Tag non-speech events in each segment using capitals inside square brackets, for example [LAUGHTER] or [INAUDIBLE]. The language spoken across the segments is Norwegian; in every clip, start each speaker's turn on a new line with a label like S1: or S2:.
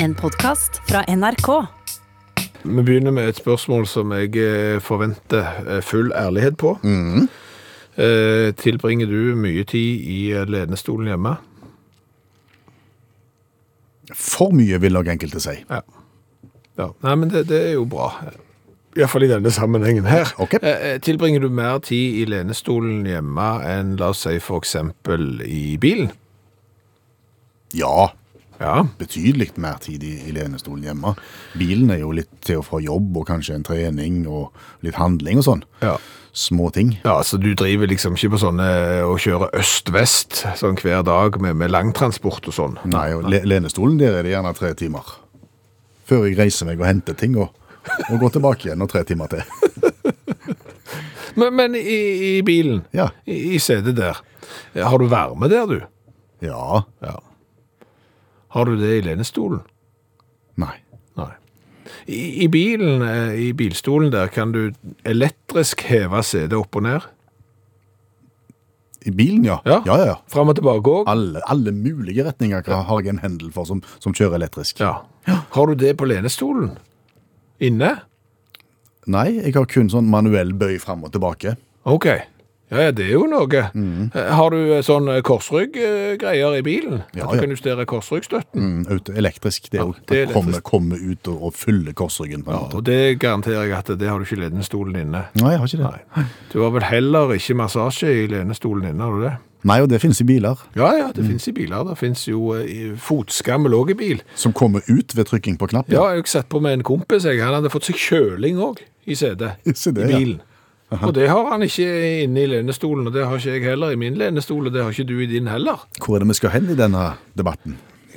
S1: En podkast fra NRK.
S2: Vi begynner med et spørsmål som jeg eh, forventer eh, full ærlighet på. Mm. Eh, Tilbringer du mye tid i eh, lenestolen hjemme?
S3: For mye, vil nok enkelte si.
S2: Ja. ja. Nei, men det, det er jo bra. Iallfall i denne sammenhengen her.
S3: Ok.
S2: Eh, eh, Tilbringer du mer tid i lenestolen hjemme enn la oss si f.eks. i bilen?
S3: Ja,
S2: Ja.
S3: betydelig mer tid i, i lenestolen hjemme. Bilen er jo litt til og fra jobb, og kanskje en trening og litt handling og sånn.
S2: ja.
S3: Små ting.
S2: Ja, så du driver liksom ikke på sånne og kjører øst-vest sånn hver dag med, med langtransport og sånn?
S3: Nei, og le, lenestolen der er det gjerne tre timer. Før jeg reiser meg og henter ting og, og går tilbake igjen og tre timer til.
S2: Men, men i, i bilen,
S3: Ja.
S2: i, i setet der, har du varme der, du?
S3: Ja.
S2: Ja. Har du det i lenestolen?
S3: Nei.
S2: Nei. I, i bilen, eh, i bilstolen der, kan du elektrisk heve setet opp og ned?
S3: I bilen, ja.
S2: Ja.
S3: ja, ja.
S2: Fram og tilbake òg?
S3: Alle, alle mulige retninger kan- har jeg en hendel for som, som kjører elektrisk.
S2: Ja. Har du det på lenestolen? Inne?
S3: Nei, jeg har kun sånn manuell bøy fram og tilbake.
S2: OK. Ja, ja, det er jo noe.
S3: Mm.
S2: Eh, Har du eh, sånn eh, korsrygggreier i bilen?
S3: Ja,
S2: At du
S3: ja.
S2: kan justere korsryggstøtten?
S3: Mm, auto- elektrisk, det er jo
S2: det er
S3: å komme, komme ut og, og fylle korsryggen på en måte.
S2: Og det garanterer jeg at det har du ikke i lenestolen inne.
S3: Nei, jeg har ikke det. Nei,
S2: Nei. Du har vel heller ikke massasje i lenestolen inne, har du det?
S3: og det finnes i biler
S2: Ja, ja, det finnes i biler. Det finnes jo eh, i fotskammel òg i bil.
S3: som kommer ut ved trykking på knappen.
S2: Ja, jeg har sett på med en kompis, jeg. Han hadde fått seg kjøling òg i setet.
S3: Se det,
S2: I
S3: ja.
S2: bilen. Og det har han ikke inne i lenestolen, og det har ikke jeg heller i min lenestol, og det har ikke du i din heller.
S3: Hvor er det vi skal hen i denne debatten?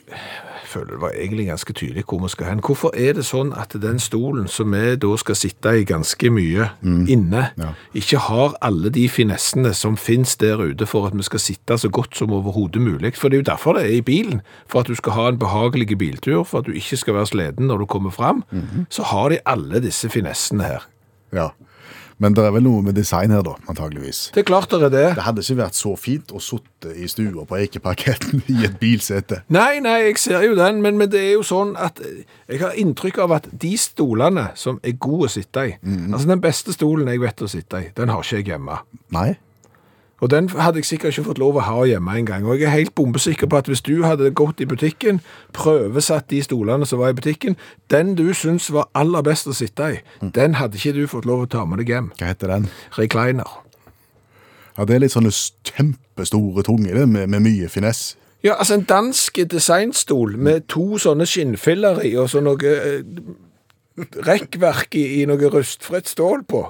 S2: Jeg føler det var egentlig ganske tydelig hvor vi skal hen. Hvorfor er det sånn at den stolen som vi da skal sitte i ganske mye inne,
S3: Ja.
S2: ikke har alle de finessene som finnes der ute for at vi skal sitte så godt som overhodet mulig? For det er jo derfor det er i bilen. For at du skal ha en behagelig biltur, for at du ikke skal være sliten når du kommer fram, så har de alle disse finessene her.
S3: Ja. Men det er vel noe med design her da, antageligvis.
S2: Det er klart det er det.
S3: Det hadde ikke vært så fint å sutte i stua på Eikeparketten i et bilsete.
S2: Nei, nei, jeg ser jo den, men, men det er jo sånn at eh, jeg har inntrykk av at de stolene som er gode å sitte i, altså den beste stolen jeg vet å sitte i, den har ikke jeg hjemme.
S3: Nei.
S2: Og den hadde jeg sikkert ikke fått lov å ha hjemme engang. Og jeg er helt bombesikker på at hvis du hadde gått i butikken, prøvesatt de stolene som var i butikken, den du syns var aller best å sitte i, den hadde ikke du fått lov å ta med deg hjem.
S3: Hva heter den?
S2: Recliner.
S3: Ja, det er litt sånne s- kjempestore tunge det, med, med mye finess.
S2: Ja, altså en dansk designstol med to sånne skinnfiller i og så noe eh, rekkverk i, i noe rustfritt stål på.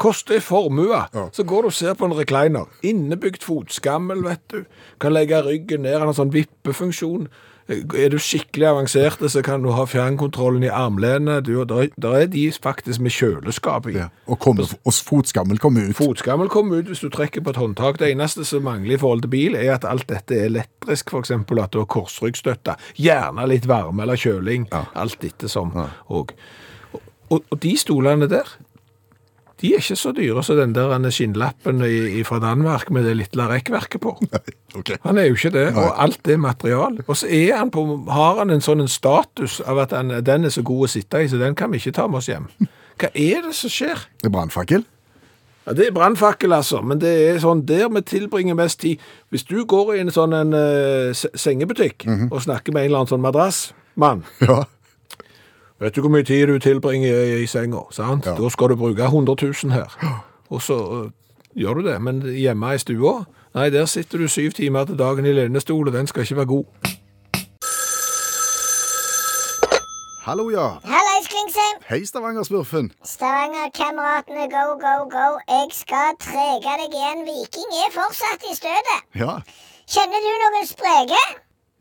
S2: Koster en formue. Så går du og ser på en recliner. Innebygd fotskammel, vet du. Kan legge ryggen ned, han har sånn vippefunksjon. Eh, Er du skikkelig avansert, så kan du ha fjernkontrollen i armlenet. Du, og der, der er de faktisk med kjøleskap i.
S3: Og, kommer, og fotskammel kommer ut.
S2: Fotskammel kommer ut hvis du trekker på et håndtak. Det eneste som mangler i forhold til bil, er at alt dette er elektrisk, f.eks. at du har korsryggstøtte. Gjerne litt varme eller kjøling. Alt ettersom. Og, og, og de stolene der, de er ikke så dyre som den der ene skinnlappen i, i, fra Danmark med det lille rekkverket på.
S3: [LAUGHS] Ok.
S2: Han er jo ikke det, og alt er material. Og så er han på, har han en sånn en status av at han, den er så god å sitte i, så den kan vi ikke ta med oss hjem. Hva er det som skjer?
S3: Det er brannfakkel.
S2: Ja, Det er brannfakkel, altså, men det er sånn der vi tilbringer mest tid. Hvis du går i en sånn en, eh, se- sengebutikk og snakker med en eller annen sånn madrassmann
S3: Ja.
S2: Vet du hvor mye tid du tilbringer i, i senga? sant? Da skal du bruke 100 000 her. Og så eh, gjør du det. Men hjemme i stua Nei, der sitter du syv timer til dagen i lenestol, og den skal ikke være god.
S3: Hallo, ja.
S4: Hallais, Klingsheim!
S3: Hei, Stavanger-smurfen.
S4: Stavanger-kameratene, go, go, go. Jeg skal trege deg igjen. Viking er fortsatt i støtet.
S3: Ja.
S4: Kjenner du noen spreke?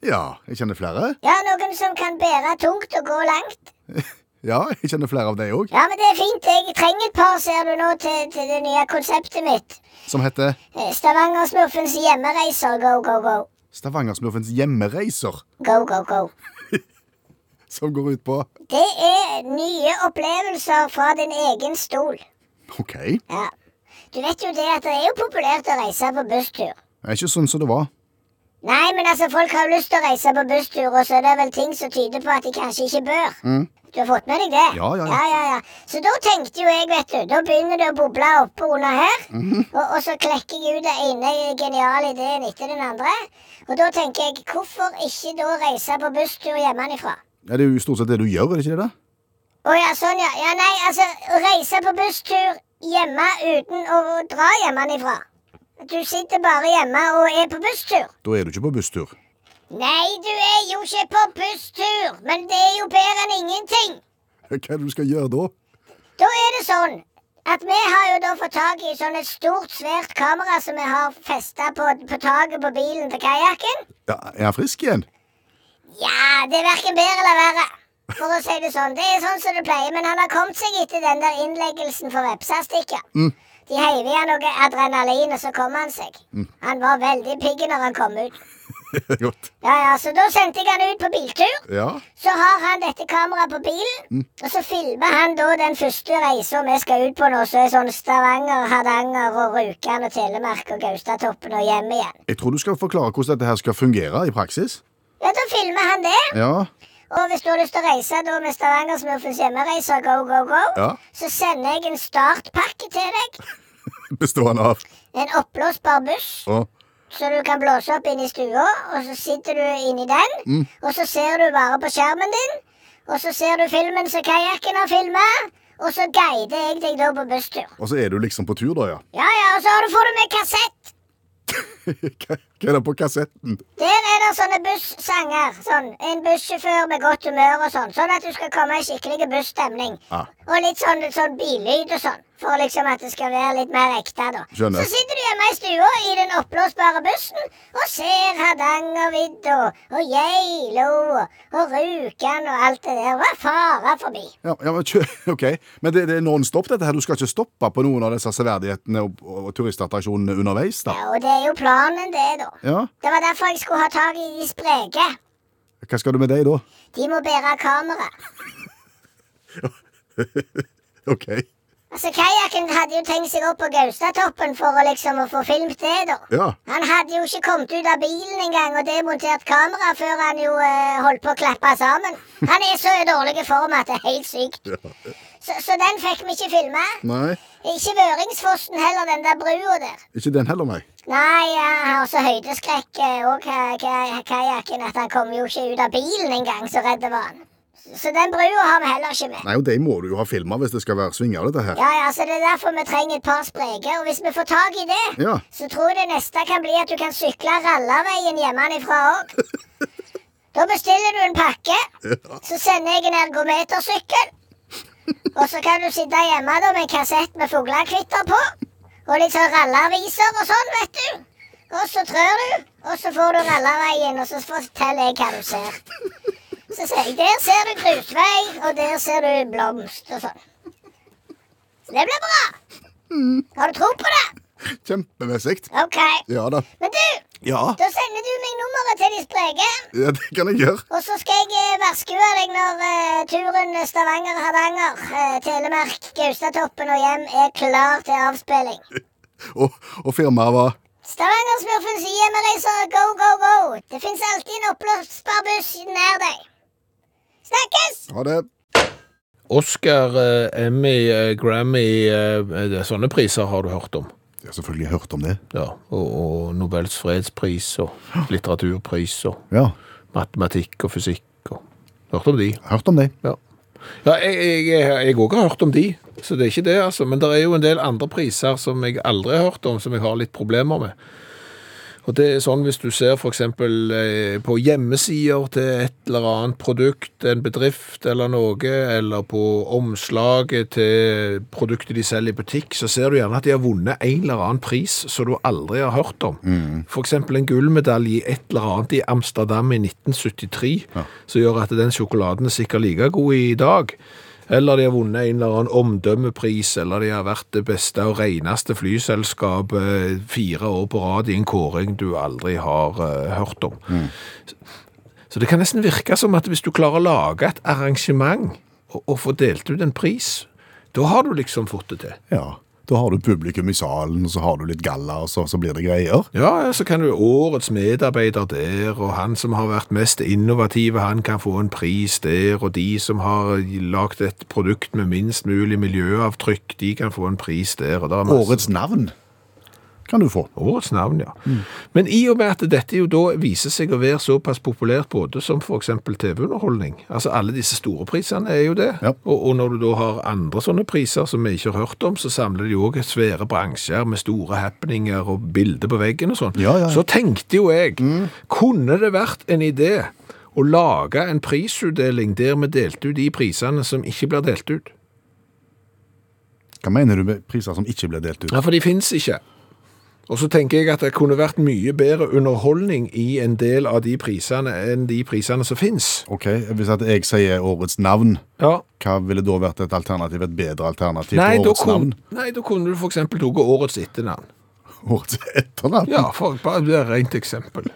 S3: Ja, jeg kjenner flere.
S4: Ja, noen som kan bære tungt og gå langt?
S3: Ja, jeg kjenner flere av deg òg,
S4: Ja, men det er fint. Jeg trenger et par, ser du nå, til, til det nye konseptet mitt.
S3: som heter
S4: Eh, Stavanger-smurfens hjemmereiser, go, go, go.
S3: Stavangersmurfens hjemmereiser,
S4: Go, go, go.
S3: som går ut på
S4: Det er nye opplevelser fra din egen stol.
S3: OK. Det
S4: Ja. Du vet jo det at det er jo populært å reise på busstur.
S3: er ikke sånn som det var.
S4: Nei, men altså, folk har jo lyst til å reise på busstur, og så er det vel ting som tyder på at de kanskje ikke bør. Du har fått med deg det?
S3: Mm. Ja, ja, ja.
S4: ja, Så da tenkte jo jeg, vet du, da begynner det å boble oppe under her.
S3: Mhm.
S4: og, og så klekker jeg ut den ene geniale ideen etter den andre. Og da tenker jeg, hvorfor ikke da reise på busstur hjemmefra?
S3: Ja, det er jo stort sett det du gjør, er det ikke det? da?
S4: Å ja, sånn ja. Ja, nei, altså, reise på busstur hjemme uten å dra hjemmefra. Du sitter bare hjemme og er på busstur.
S3: Da er du ikke på busstur. [LAUGHS]
S4: Nei, du er jo ikke på busstur, men det er jo bedre enn ingenting.
S3: Hva er det du skal gjøre da?
S4: Da er det sånn at vi har jo da fått tak i sånn et stort, svært kamera som vi har festa på, på taket på bilen til kajakken.
S3: Ja, er han frisk igjen? [LAUGHS]
S4: Ja, det er verken bedre eller verre. For å si det sånn. Det er sånn som det pleier, men han har kommet seg etter den der innleggelsen for vepsastikker. De heiv i han noe adrenalin, og så kom han seg. Han var veldig pigg når han kom ut.
S3: Godt.
S4: Ja, ja, Så da sendte jeg han ut på biltur.
S3: Ja.
S4: Så har han dette kameraet på bilen, og så filmer han da den første reisa vi skal ut på nå, så er sånn Stavanger, Hardanger og Rjukan og Telemark og Gaustatoppen og hjem igjen.
S3: Jeg tror du skal forklare hvordan dette her skal fungere i praksis.
S4: Ja, da filmer han det,
S3: Ja. [LAUGHS]
S4: og hvis du har lyst til å reise da med Stavangersmurfens hjemmereiser, go, go, go,
S3: Ja.
S4: så sender jeg en startpakke til deg.
S3: Bestående av
S4: En oppblåsbar buss.
S3: og
S4: Så du kan blåse opp inn i stua, og så sitter du inni den, og så ser du bare på skjermen din, og så ser du filmen som kajakken har filma, og så guider jeg deg da på busstur.
S3: Og så er du liksom på tur, da, ja. [LAUGHS]
S4: Ja ja, og så har du- får du med kassett.
S3: Hva hva er det på kassetten?
S4: Der er det sånne bussanger. Sånn. En bussjåfør med godt humør og sånn. Sånn at du skal komme i skikkelig busstemning.
S3: Ja.
S4: Og litt sånn, sånn billyd og sånn. For liksom at det skal være litt mer ekte, da.
S3: Skjønner.
S4: Så sitter du hjemme i stua i den oppblåsbare bussen og ser Hardangervidda og Geilo og Rjukan og alt det der. Hva farer forbi?
S3: Ja, ja men kjø, [LAUGHS] ok. Men det, det er non-stop, dette her. Du skal ikke stoppe på noen av disse severdighetene og, og turistattraksjonene underveis, da?
S4: Ja, og det er jo planen, det, da.
S3: Ja.
S4: Det var derfor jeg skulle ha tak i de spreke.
S3: Hva skal du med deg, da? [LAUGHS]
S4: De må bære kamera.
S3: Ok.
S4: Altså, Kajakken hadde jo tenkt seg opp på Gaustatoppen for å liksom å få filmt det, da.
S3: Ja.
S4: Han hadde jo ikke kommet ut av bilen engang og demontert kamera før han jo eh, holdt på å klappe sammen. Han er så i dårlig form at det er helt sykt. Så, så den fikk vi ikke filma.
S3: Nei.
S4: Ikke Vøringsfossen heller, den der brua der.
S3: Ikke den heller, nei.
S4: Nei, han har også høydeskrekk eh, og ka- ka- kajakken at han kom jo ikke ut av bilen engang, så redd var han. Så- Så den brua har vi heller ikke med.
S3: Nei, og de må du jo ha filma hvis det skal være svinger, dette her.
S4: Ja, ja, så Det er derfor vi trenger et par spreke. Og hvis vi får tak i det,
S3: Ja. [LAUGHS]
S4: så tror jeg det neste kan bli at du kan sykle rallarveien hjemmefra òg. Da bestiller du en pakke, så sender jeg en ergometersykkel. Og så kan du sitte hjemme da med en kassett med fuglekvitter på. Og litt sånn rallarviser og sånn, vet du. Og så trør du, og så får du rallarveien, og så forteller jeg hva du ser. Så sier jeg der ser du grusvei, og der ser du blomst og sånn. Så det blir bra. Har du tro på det?
S3: Kjempemessig.
S4: OK.
S3: Ja da.
S4: Men du,
S3: Ja.
S4: da sender du meg nummeret til de spreke.
S3: ja, det kan jeg gjøre.
S4: Og så skal jeg eh, varskue deg når eh, turen Stavanger-Hardanger, eh, Telemark, Gaustatoppen og hjem er klar til avspilling.
S3: Og, og firmaet var
S4: Stavanger-smurfens hjemmereiser, go, go, go! Det fins alltid en oppblåsbar buss nær deg. Snakkes!
S3: Ha det.
S2: Oscar, eh, Emmy, eh, Grammy, eh, det, sånne priser har du hørt om.
S3: Jeg har selvfølgelig hørt om det.
S2: Ja, og, og Nobels fredspris og litteraturpris og
S3: Ja.
S2: matematikk og fysikk og Hørt om de.
S3: Hørt om det.
S2: Ja, ja jeg òg jeg, jeg også har hørt om de, så det er ikke det, altså. Men det er jo en del andre priser som jeg aldri har hørt om, som jeg har litt problemer med. Og det er sånn hvis du ser f.eks. på hjemmesider til et eller annet produkt, en bedrift eller noe, eller på omslaget til produktet de selger i butikk, så ser du gjerne at de har vunnet en eller annen pris som du aldri har hørt om. F.eks. en gullmedalje i et eller annet i Amsterdam i 1973, som gjør at den sjokoladen er sikkert like god i dag. Eller de har vunnet en eller annen omdømmepris, eller de har vært det beste og reneste flyselskapet fire år på rad i en kåring du aldri har eh, hørt om. Så det kan nesten virke som at hvis du klarer å lage et arrangement og, og få delt ut en pris, da har du liksom fått det til.
S3: Ja. Da har du publikum i salen, og så har du litt galla, og så, så blir det greier.
S2: Ja, ja, så kan du årets medarbeider der, og han som har vært mest innovative, han kan få en pris der, og de som har lagt et produkt med minst mulig miljøavtrykk, de kan få en pris der. Og der er masse-
S3: Årets navn kan du få.
S2: Årets navn, ja. Men i og med at dette jo da viser seg å være såpass populært både som for eksempel TV-underholdning, altså alle disse store priserne er jo det,
S3: Ja.
S2: og, og når du da har andre sånne priser som vi ikke har hørt om, så samler de jo også svære bransjer med store happeninger og bilder på veggen og sånn.
S3: Ja, ja, ja.
S2: Så tenkte jo jeg, kunne det vært en idé å lage en prisutdeling der vi delte ut de prisene som ikke blir delt ut?
S3: Hva mener du med priser som ikke ble delt ut?
S2: Ja, for de finnes ikke. Og så tenker jeg at det kunne vært mye bedre underholdning i en del av de priserne enn de priserne som finnes.
S3: Ok, Hvis at jeg sier årets navn,
S2: Ja.
S3: hva ville da vært et alternativ? Et bedre alternativ
S2: Nei
S3: til
S2: da,
S3: årets
S2: kun,
S3: navn? [LAUGHS]
S2: nei, da kunne du for eksempel tatt årets etternavn.
S3: Årets etternavn?
S2: Ja, for bare det er et rent eksempel.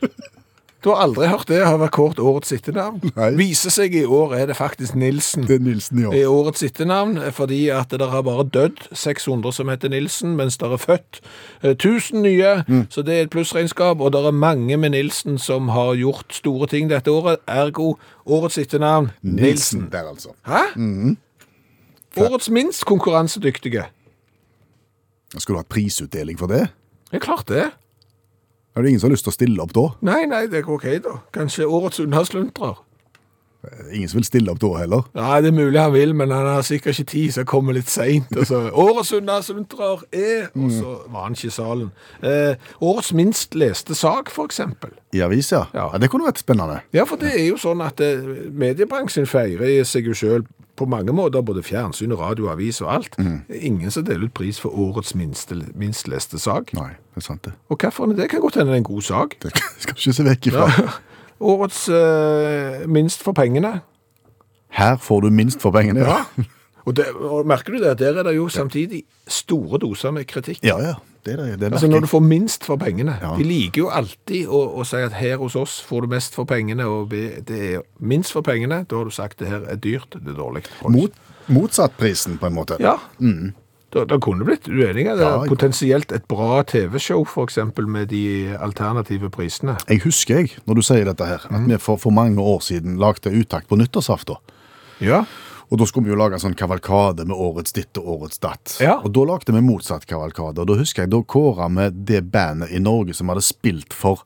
S2: Du har aldri hørt det, har vært kort årets etternavn.
S3: Nei.
S2: Viser seg i år er det faktisk Nilsen.
S3: Det er Nilsen i år.
S2: er årets etternavn, fordi at det har bare dødd 600 som heter Nilsen, mens det er født eh, 1000 nye, så det er et plussregnskap, og det er mange med Nilsen som har gjort store ting dette året, ergo årets etternavn Nilsen.
S3: Nilsen der, altså.
S2: Hæ? Årets minst konkurransedyktige.
S3: Skulle du hatt prisutdeling for det?
S2: Det er klart det.
S3: Er det ingen som har lyst til å stille opp da?
S2: Nei, nei, det går ok da. Kanskje årets unnasluntrer.
S3: Ingen som vil stille opp da heller?
S2: Nei, det er mulig han vil, men han har sikkert ikke tid, så han kommer litt seint.
S3: [LAUGHS]
S2: Altså, årets unnasluntrer er Og så var han ikke i salen. Eh, årets minst leste sak, for eksempel.
S3: I avis, ja. ja.
S2: Ja.
S3: Det kunne vært spennende.
S2: Ja, for det er jo sånn at eh, mediebransjen feirer seg jo sjøl på mange måter, både fjernsyn, radio, avis og alt.
S3: Mhm.
S2: Ingen som deler ut pris for årets minste, minst leste sak.
S3: Nei, det er sant det.
S2: Og hvorfor? Det kan godt hende det er en god sak.
S3: Det [LAUGHS] skal vi ikke se vekk ifra.
S2: [LAUGHS] Årets eh, minst for
S3: [LAUGHS]
S2: pengene.
S3: Her får du minst for pengene. Ja,
S2: Og, det, og merker du det, der er det jo samtidig store doser med kritikk.
S3: ja. ja. Det, er det, det
S2: Altså
S3: merker
S2: Når
S3: jeg.
S2: du får minst for pengene.
S3: Ja.
S2: De liker jo alltid å, å si at her hos oss får du mest for pengene, og vi- det er minst for pengene. Da har du sagt det her er dyrt, det er dårlig.
S3: Mot, motsatt prisen, på en måte.
S2: Ja. Da, da kunne det blitt uenige. Det er
S3: Ja, jeg-
S2: potensielt et bra TV-show, f.eks., med de alternative prisene.
S3: Jeg husker jeg, når du sier dette her,
S2: Mhm.
S3: at vi for, for mange år siden lagde uttakt på nyttårsaften.
S2: Ja.
S3: Og da skulle vi jo lage en sånn kavalkade med årets ditt og årets datt.
S2: Ja.
S3: Og da lagde vi motsatt kavalkade, og da husker jeg da kåra vi det bandet i Norge som hadde spilt for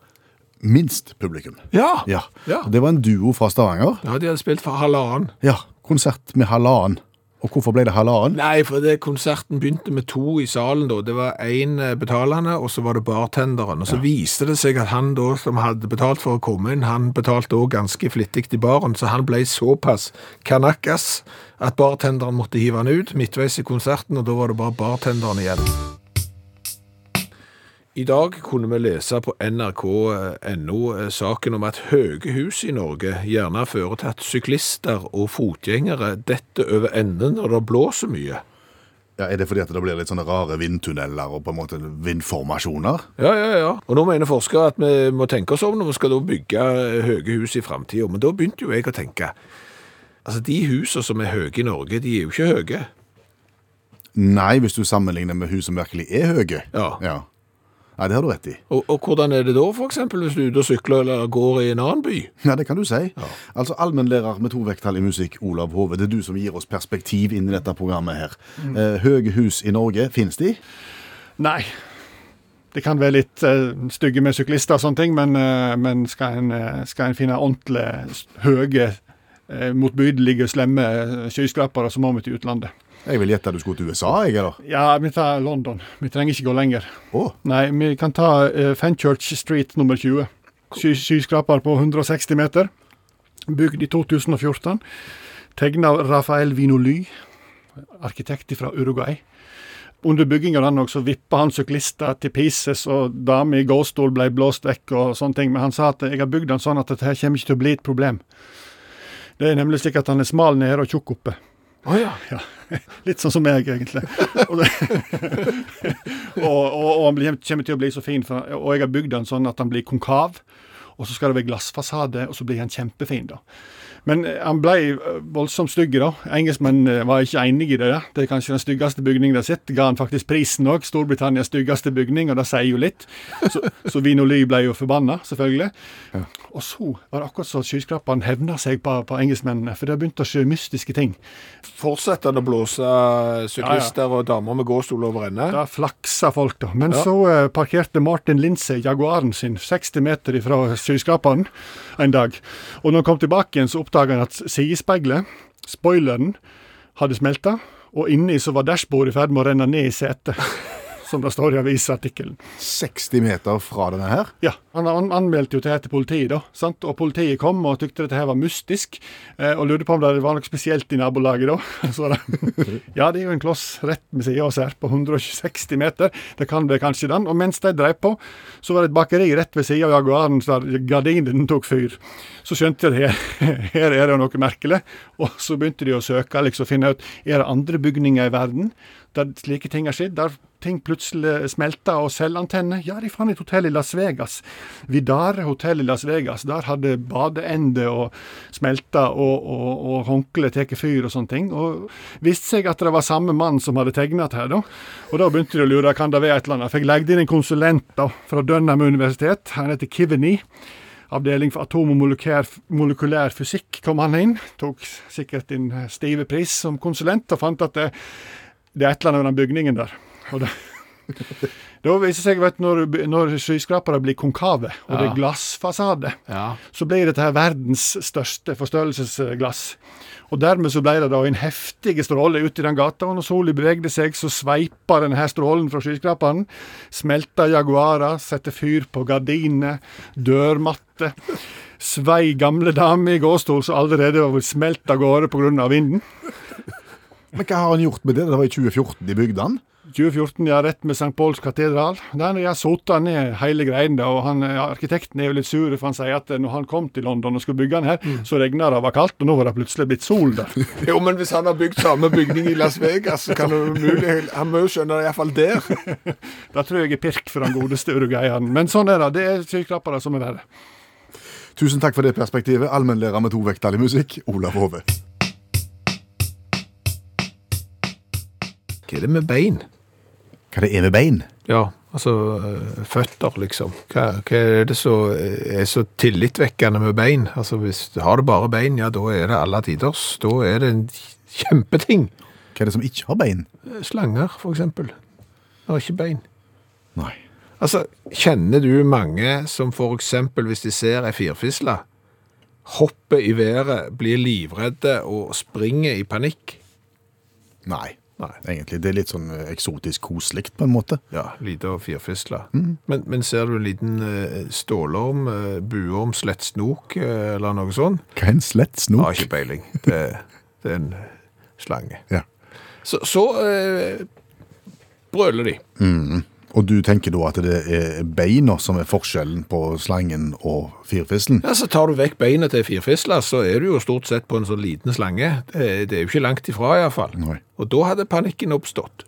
S3: minst publikum.
S2: Ja.
S3: Ja.
S2: Ja.
S3: Og Det var en duo fra Stavanger.
S2: Ja, de hadde spilt for halvannen.
S3: Ja, konsert med halvannen. Og hvorfor ble det halvannen?
S2: Nei, for det konserten begynte med to i salen da. Det var én betalende, og så var det bartenderen. Og så viste det seg at han da, som hadde betalt for å komme inn, han betalte òg ganske flittig i baren, så han ble såpass kanakkas at bartenderen måtte hive han ut midtveis i konserten, og da var det bare bartenderen igjen. I dag kunne vi lese på eh, nrk.no saken om at høye hus i Norge gjerne fører til at syklister og fotgjengere detter over ende når det blåser mye.
S3: Ja, Er det fordi at det blir litt sånne rare vindtunneler og på en måte vindformasjoner?
S2: Ja, ja, ja. Og nå mener forskere at vi må tenke oss om når vi skal da bygge høye hus i framtida. Men da begynte jo jeg å tenke. Altså, De husene som er høye i Norge, de er jo ikke høye.
S3: Nei, hvis du sammenligner med hus som virkelig er høye.
S2: Ja.
S3: Nei, det har du rett i.
S2: Og, og hvordan er det da, f.eks. hvis du er ute og sykler eller går i en annen by?
S3: [LAUGHS] Ja, det kan du si. Altså, Allmennlærer med to vekttall i musikk, Olav Hove, det er du som gir oss perspektiv inn i dette programmet her.
S2: Mm.
S3: Eh, høye hus i Norge, finnes de?
S5: Nei. Det kan være litt eh, stygge med syklister og sånne ting, men, eh, men skal, en, eh, skal en finne ordentlig s- høye, eh, motbydelige, slemme eh, skyskrapere, så må vi til utlandet.
S3: Jeg vil gjette at du skulle til USA, jeg, eller?
S5: Ja, vi tar London. Vi trenger ikke gå lenger.
S3: Å,
S5: Nei, vi kan ta eh, Fenchurch Street nummer 20. Sky, skyskraper på 160 meter. Bygd i 2014. Tegna av Rafael Vinoly, arkitekt fra Uruguay. Under bygginga den også vippa han syklister til pieces, og damer i gåstol ble blåst vekk og sånne ting. Men han sa at jeg har bygd den sånn at dette her kommer ikke til å bli et problem. Det er nemlig slik at han er smal nede og tjukk oppe.
S2: Å ja.
S5: [LAUGHS] Litt sånn som meg, egentlig. Og, det, [LAUGHS] og, og, og han blir- kommer til å bli så fin, for, og jeg har bygd den sånn at han blir konkav. Og så skal det være glassfasade, og så blir han kjempefin, da. Men eh, han ble eh, voldsomt stygg, da. Engelskmennene var ikke enige i det. der. Det er kanskje den styggeste bygningen de har sett. Ga han faktisk prisen òg. Storbritannias styggeste bygning, og det sier jo litt. Så, så Vinoli ble jo forbanna, selvfølgelig. Og så var det akkurat så at skyskraperen hevna seg på, på engelskmennene, for det begynte å skje mystiske ting.
S2: Fortsetter han å blåse syklister og damer med gåstol over ende?
S5: Da flaksa folk, da. Men så eh, parkerte Martin Lindsay Jaguaren sin 60 meter fra skyskraperen en dag. Og når han kom tilbake igjen, så oppdaga han at sidespeilet, spoileren, hadde smelta. Og inni så var dashbordet i ferd med å renne ned i setet, som det står i avisartikkelen.
S3: 60 meter fra denne her.
S5: Ja, han, han anmeldte jo dette til politiet, da. sant? Og politiet kom og tykte dette her var mystisk, eh, og lurte på om det var noe spesielt i nabolaget, da. [LAUGHS] Så var det, ja, det er jo en kloss rett ved siden av oss her, på 160 meter. Det kan det kanskje, den. Og mens de drev på, så var det et bakeri rett ved siden av Jaguaren, så der gardinen tok fyr. Så skjønte de her, [LAUGHS] her er det noe merkelig, og så begynte de å søke, liksom finne ut er det andre bygninger i verden der slike ting har skjedd, der ting plutselig smelter og selvantenner. Ja, de fant et hotell i Las Vegas. Vidare hotell i Las Vegas. Der hadde badeende og smelta og, og, og håndkle tatt fyr og sånne ting. Og viste seg at det var samme mann som hadde tegnet her, da. Og da begynte de å lure, kan det være et eller annet? Fikk legget inn en konsulent da, fra Dønham universitet. Han heter Kiveny. Avdeling for atom- og molekylær, molekylær fysikk kom han inn. Tok sikkert en stive pris som konsulent, og fant at det, det er et eller annet med den bygningen der. Og
S2: [LAUGHS]
S5: det, da viser seg vet, du, når, når skyskrapere blir konkave, og det
S2: Ja.
S5: er glassfasade,
S2: Ja.
S5: så blir dette her verdens største forstørrelsesglass. Og dermed så ble det da en heftig stråle ut i den gata, og når sola bevegde seg, så sveipa denne her strålen fra skyskraperen. Smelta jaguarer, satte fyr på gardiner, dørmatte. Svei gamle dame i gåstol som allerede var smelt av gårde pga. vinden.
S3: Men hva har han gjort med det? Det var i 2014 de bygde han.
S5: 2014, ja, rett med St. Pauls katedral. Der jeg sota ned hele greien, da, og han, ja, arkitekten er jo litt sur, for han sier at eh, når han kom til London og skulle bygge den her, så regna det og var kaldt, og nå var det plutselig blitt sol der.
S2: Jo, men hvis han har bygd samme bygning i Las Vegas, så kan det umulig Han må jo skjønne det iallfall der.
S5: Da tror jeg jeg er pirk for den godeste uruguayeren. Men sånn er det. Det er skyskrapere som er verre.
S3: Tusen takk for det perspektivet, allmennlærer med to vekttall i musikk, Olav Hove.
S2: Hva er det med bein?
S3: Hva det er med bein?
S2: Ja, altså eh, føtter, liksom. Hva, hva er det som er så tillitvekkende med bein? Altså, hvis du har du bare bein, ja, da er det alle tiders. Da er det en kjempeting.
S3: Hva er det som ikke har bein?
S2: Slanger, for eksempel. Har ikke bein.
S3: Nei.
S2: Altså, kjenner du mange som for eksempel, hvis de ser ei firfisle, hopper i været, blir livredde og springer i panikk?
S3: Nei.
S2: Nei.
S3: Egentlig, det er litt sånn eh, eksotisk koselig på en måte.
S2: Ja, lite og firfisle. Men, men ser du en liten eh, stålorm, eh, buorm, slett snok eh, eller noe sånt?
S3: Hva er en slett
S2: Har
S3: snok?
S2: ikke peiling. Det, det er en slange.
S3: Ja.
S2: Så, så eh, brøler de.
S3: Og du tenker da at det er beina som er forskjellen på slangen og firfislen?
S2: Ja, så tar du vekk beinet til firfisla, så er du jo stort sett på en sånn liten slange. Det, det er jo ikke langt ifra iallfall.
S3: Nei.
S2: Og da hadde panikken oppstått.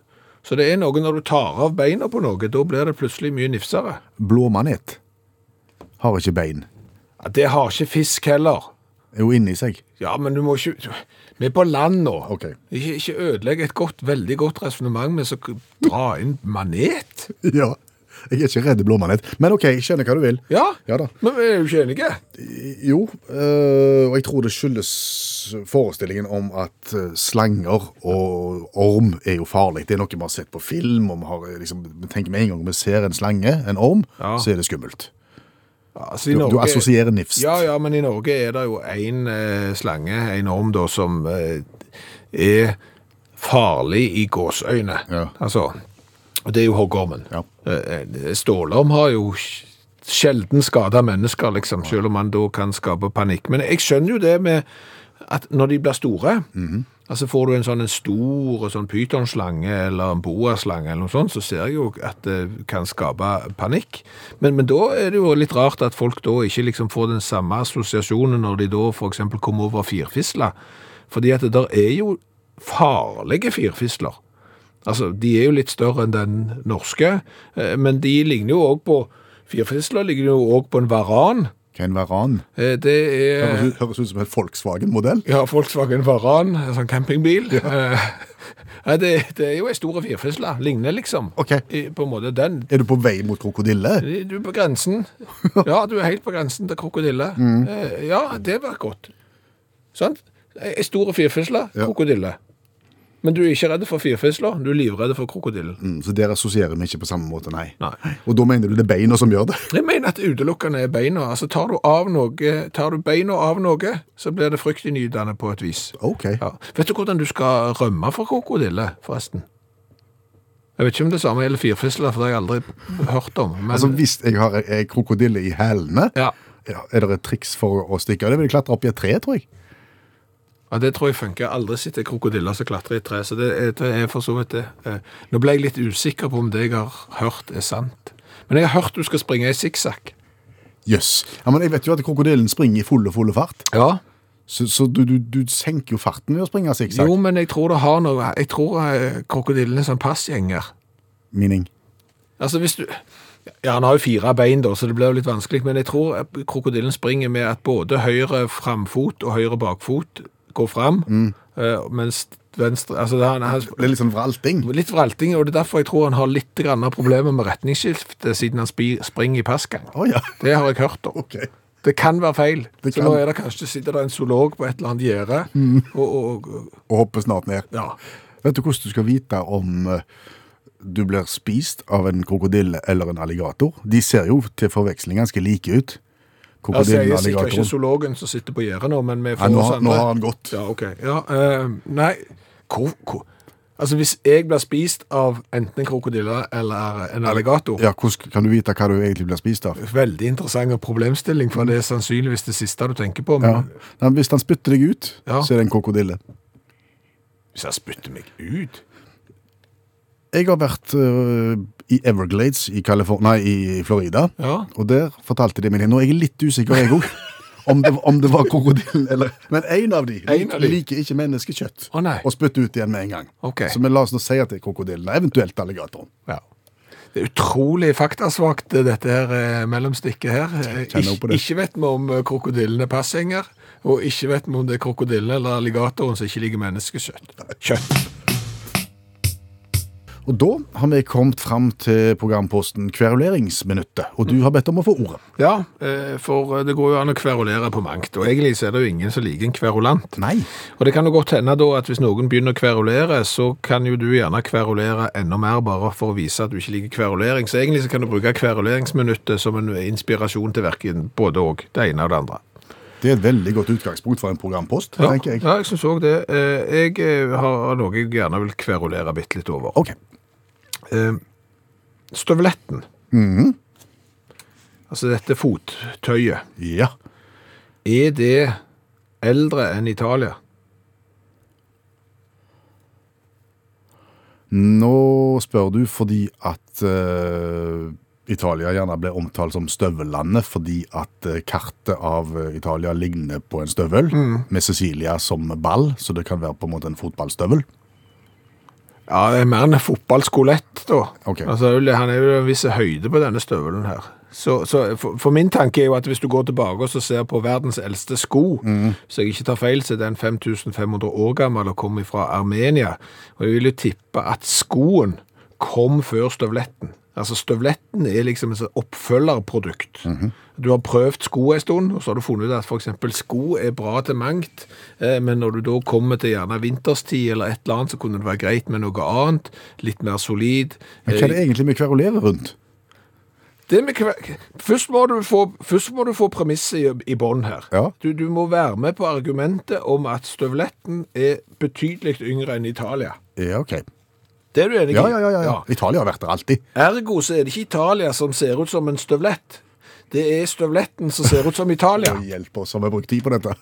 S2: Så det er noe når du tar av beina på noe, da blir det plutselig mye nifsere.
S3: Blå manet har ikke bein.
S2: Ja, det har ikke fisk heller.
S3: Er jo inni seg.
S2: Ja, men du må ikke Vi er på land nå.
S3: Ok. [LAUGHS]
S2: Ikke, ikke ødelegg et godt, veldig godt resonnement med å k- dra inn manet.
S3: Ja. Jeg er ikke redd blå manet. Men OK, jeg skjønner hva du vil.
S2: Ja,
S3: Ja da.
S2: men vi er jo ikke enige.
S3: Jo, øh, og jeg tror det skyldes forestillingen om at øh, slanger og orm er jo farlig. Det er noe vi har sett på film, og vi har øh, liksom, vi tenker med en gang vi ser en slange, en orm,
S2: Ja.
S3: så er det skummelt.
S2: Ja, altså, i
S3: Du, du
S2: Norge-
S3: assosierer nifst.
S2: Ja, ja, men i Norge er det jo én eh, slange, en orm, da, som eh, er farlig i gåsøyne.
S3: Ja.
S2: Altså, og det er jo hoggormen.
S3: Ja.
S2: Eh, eh, Stålorm har jo sj- sjelden skada mennesker, liksom, selv om man da kan skape panikk. Men jeg skjønner jo det med at når de blir store Altså Får du en sånn en stor sånn pytonslange eller en boaslange, eller noe sånt, så ser jeg jo at det kan skape panikk. Men, men da er det jo litt rart at folk da ikke liksom får den samme assosiasjonen når de da f.eks. kommer over firfisler. Fordi at det der er jo farlige firfisler. Altså, De er jo litt større enn den norske, eh, men de ligner jo òg på Firfisler ligner jo òg på en varan.
S3: Hva er en varan?
S2: Eh, Det er
S3: Høres ut- Høres ut som en Volkswagen-modell.
S2: Ja, Volkswagen Varan, en sånn campingbil. [LAUGHS] Eh, Nei, det, det er jo ei stor firfisle. Ligner liksom.
S3: Ok.
S2: I, på en måte den.
S3: Er du på vei mot krokodille?
S2: Du er på grensen. Ja, du er helt på grensen til krokodille. Eh, Ja, det var godt. Sant? Ei stor firfisle,
S3: Ja.
S2: krokodille. Men du er ikke redd for firfisler, du er livredd for krokodillen.
S3: Mm, så der assosierer vi ikke på samme måte, nei.
S2: Nei.
S3: Og da mener du det er beina som gjør det?
S2: Jeg mener at det utelukkende er beina. Altså, tar du, av noe, tar du beina av noe, så blir det fryktinngytende på et vis.
S3: Ok.
S2: Ja. Vet du hvordan du skal rømme fra krokodille, forresten? Jeg vet ikke om det samme gjelder firfisler, for det har jeg aldri hørt om. Men,
S3: Altså Hvis jeg har en krokodille i hælene,
S2: ja.
S3: ja, er det et triks for å stikke av? Det vil jeg klatre opp i et tre, tror jeg.
S2: ja, det tror jeg funker. Jeg har aldri sett en krokodille som klatrer i et tre, så det er, det er for så vidt det. Eh, Nå ble jeg litt usikker på om det jeg har hørt er sant. Men jeg har hørt du skal springe i sikksakk.
S3: Jøss. Ja, men jeg vet jo at krokodillen springer i full og full fart,
S2: Ja.
S3: så, så du, du, du senker jo farten ved å springe sikksakk.
S2: Jo, men jeg tror det har noe. Jeg tror eh, krokodillen er sånn passgjenger.
S3: Meaning.
S2: Altså hvis du... Ja, han har jo fire bein da, så det blir jo litt vanskelig, men jeg tror at krokodillen springer med at både høyre framfot og høyre bakfot går frem,
S3: Mm.
S2: eh, mens venstre... Altså det er,
S3: Det er litt sånn vralting.
S2: litt vralting, og det er derfor jeg tror han har litt grann av problemer med retningsskiftet siden han spi, springer i passgang.
S3: Å ja. [LAUGHS]
S2: Det har jeg hørt om.
S3: Ok.
S2: Det kan være feil.
S3: Det
S2: Så
S3: kan. Mm.
S2: nå er det kanskje, sitter det en zoolog på et eller annet gjere, og, og, og...
S3: Og hopper snart ned.
S2: Ja.
S3: Vet du hvordan du skal vite om eh, du blir spist av en krokodille eller en alligator? De ser jo til forveksling ganske like ut.
S2: Altså,
S3: Krokodillen
S2: jeg er
S3: og
S2: sikkert ikke
S3: alligatoren.
S2: zoologen som sitter på gjerdet nå, men vi
S3: Ja,
S2: får
S3: nå,
S2: oss
S3: har-
S2: andre.
S3: nå har han gått.
S2: Ja, ok. Ja, eh, nei, hvor, hvor? Altså, hvis jeg blir spist av enten en krokodille eller en alligator,
S3: Ja, Hvordan kan du vite hva du egentlig blir spist av?
S2: veldig interessant problemstilling, for det er sannsynligvis det siste du tenker på.
S3: Ja.
S2: Men
S3: Nei, Hvis han spytter deg ut,
S2: Mm. Ja.
S3: så er det en krokodille.
S2: hvis jeg spytter meg ut
S3: Jeg har vært øh, i Everglades i, Californ- nei, i Florida,
S2: Ja.
S3: og der fortalte de meg det. Nå er jeg litt usikker, jeg òg.
S2: [LAUGHS]
S3: Om det, om det var krokodillen eller Men én av de,
S2: En av de.
S3: liker ikke menneskekjøtt.
S2: Å, nei.
S3: Og spytter ut igjen med en gang.
S2: Ok.
S3: Så vi la oss nå si at det er krokodillen, eventuelt alligatoren.
S2: Ja. Det er utrolig faktasvakt, dette her eh, mellomstikket her. Eh,
S3: kjenner
S2: ikk-
S3: på det.
S2: ikke vet vi om eh, krokodillen er passhenger, og ikke vet vi om det er krokodillen eller alligatoren som ikke liker menneskekjøtt. Kjøtt.
S3: Og da har vi kommet fram til programposten Kveruleringsminuttet, og du har bedt om å få ordet.
S2: Ja, eh, for det går jo an å kverulere på mangt, og egentlig så er det jo ingen som liker en kverulant.
S3: Nei.
S2: Og det kan jo godt hende da at hvis noen begynner å kverulere, så kan jo du gjerne kverulere enda mer bare for å vise at du ikke liker kverulering. Så egentlig så kan du bruke kveruleringsminuttet som en inspirasjon til verken både og, det ene og det andre.
S3: Det er et veldig godt utgangspunkt for en programpost, tenker jeg.
S2: ja jeg synes også det. Eh, Jeg eh, har noe jeg gjerne vil kverulere bitte litt over.
S3: Ok.
S2: Eh, Støvletten.
S3: Mhm.
S2: Altså dette fottøyet.
S3: Ja.
S2: Er det eldre enn Italia?
S3: Nå spør du fordi at eh, Italia gjerne ble omtalt som støvellandet fordi at eh, kartet av eh, Italia ligner på en støvel med Cecilia som ball, så det kan være på en måte en fotballstøvel.
S2: Ja, det er mer enn en fotballskolett, da.
S3: Ok.
S2: Altså, han er jo en viss høyde på denne støvelen her. Så, så for, for min tanke er jo at hvis du går tilbake og så ser på verdens eldste sko,
S3: Mm.
S2: så jeg ikke tar feil, så er den 5500 år gammel og kommer fra Armenia. Og jeg vil jo tippe at skoen kom før støvletten. Altså Støvletten er liksom et sånt oppfølgerprodukt.
S3: Mhm.
S2: Du har prøvd sko en stund, og så har du funnet ut at f.eks. sko er bra til mangt, eh, men når du da kommer til gjerne vinterstid eller et eller annet, så kunne det være greit med noe annet, litt mer solid.
S3: Men hva er det egentlig vi kverulerer rundt?
S2: Det med kve- først, må du få, først må du få premisset i, i bånd her.
S3: Ja.
S2: Du, du må være med på argumentet om at støvletten er betydelig yngre enn Italia.
S3: Ja, ok.
S2: Det er du enig i?
S3: Ja, ja, ja, ja. ja. Italia har vært der alltid.
S2: Ergo så er det ikke Italia som ser ut som en støvlett. Det er støvletten som ser ut som
S3: [LAUGHS]
S2: Italia.
S3: Og Hjelp oss som har brukt tid på dette.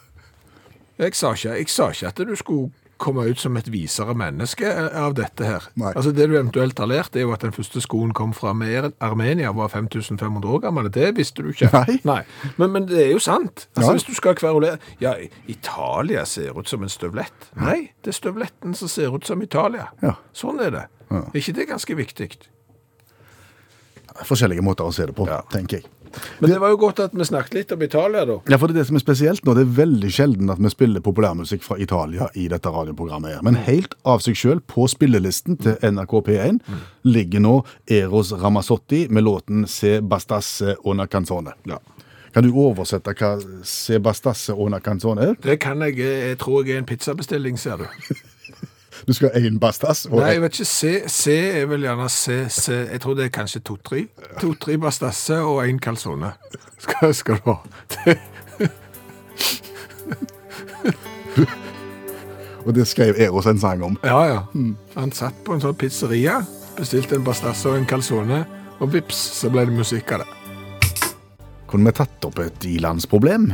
S2: Jeg sa ikke, jeg sa ikke at du skulle komme ut som et visere menneske eh, av dette her.
S3: Nei.
S2: Altså Det du eventuelt har lært, er jo at den første skoen kom fra Mer- Armenia og var 5500 år gammel. Det visste du ikke.
S3: Nei.
S2: Men, men det er jo sant. Altså
S3: Ja.
S2: Hvis du skal kverulere Ja, Italia ser ut som en støvlett. Nei, det er støvletten som ser ut som Italia.
S3: Ja.
S2: Sånn er det.
S3: Ja.
S2: Er ikke det ganske viktig?
S3: Forskjellige måter å se det på,
S2: Ja.
S3: tenker jeg.
S2: Men det var jo godt at vi snakket litt om Italia, da.
S3: Ja, for det er det som er spesielt nå, det er veldig sjelden at vi spiller populærmusikk fra Italia i dette radioprogrammet her. Men helt av seg sjøl, på spillelisten til NRK P1, ligger nå Eros Ramazzotti med låten Se bastasse una canzone. Kan du oversette hva Se bastasse una canzone er?
S2: Det kan jeg eh, Jeg tror jeg er en pizzabestilling, ser du.
S3: Du skal ha én bastas og
S2: Nei, jeg
S3: en [LAUGHS]
S2: vet ikke. C, C er vel gjerne C, C. Jeg tror det er kanskje to-tre. To-tre bastasse og én calzone. Skal, skal du ha. Det-
S3: [LAUGHS] Og det skrev Eros en sang om.
S2: Ja, ja. Han satt på en sånn pizzeria, bestilte en bastasse og en calzone, og vips, så ble det musikk av det.
S3: Kunne vi tatt opp et ilandsproblem?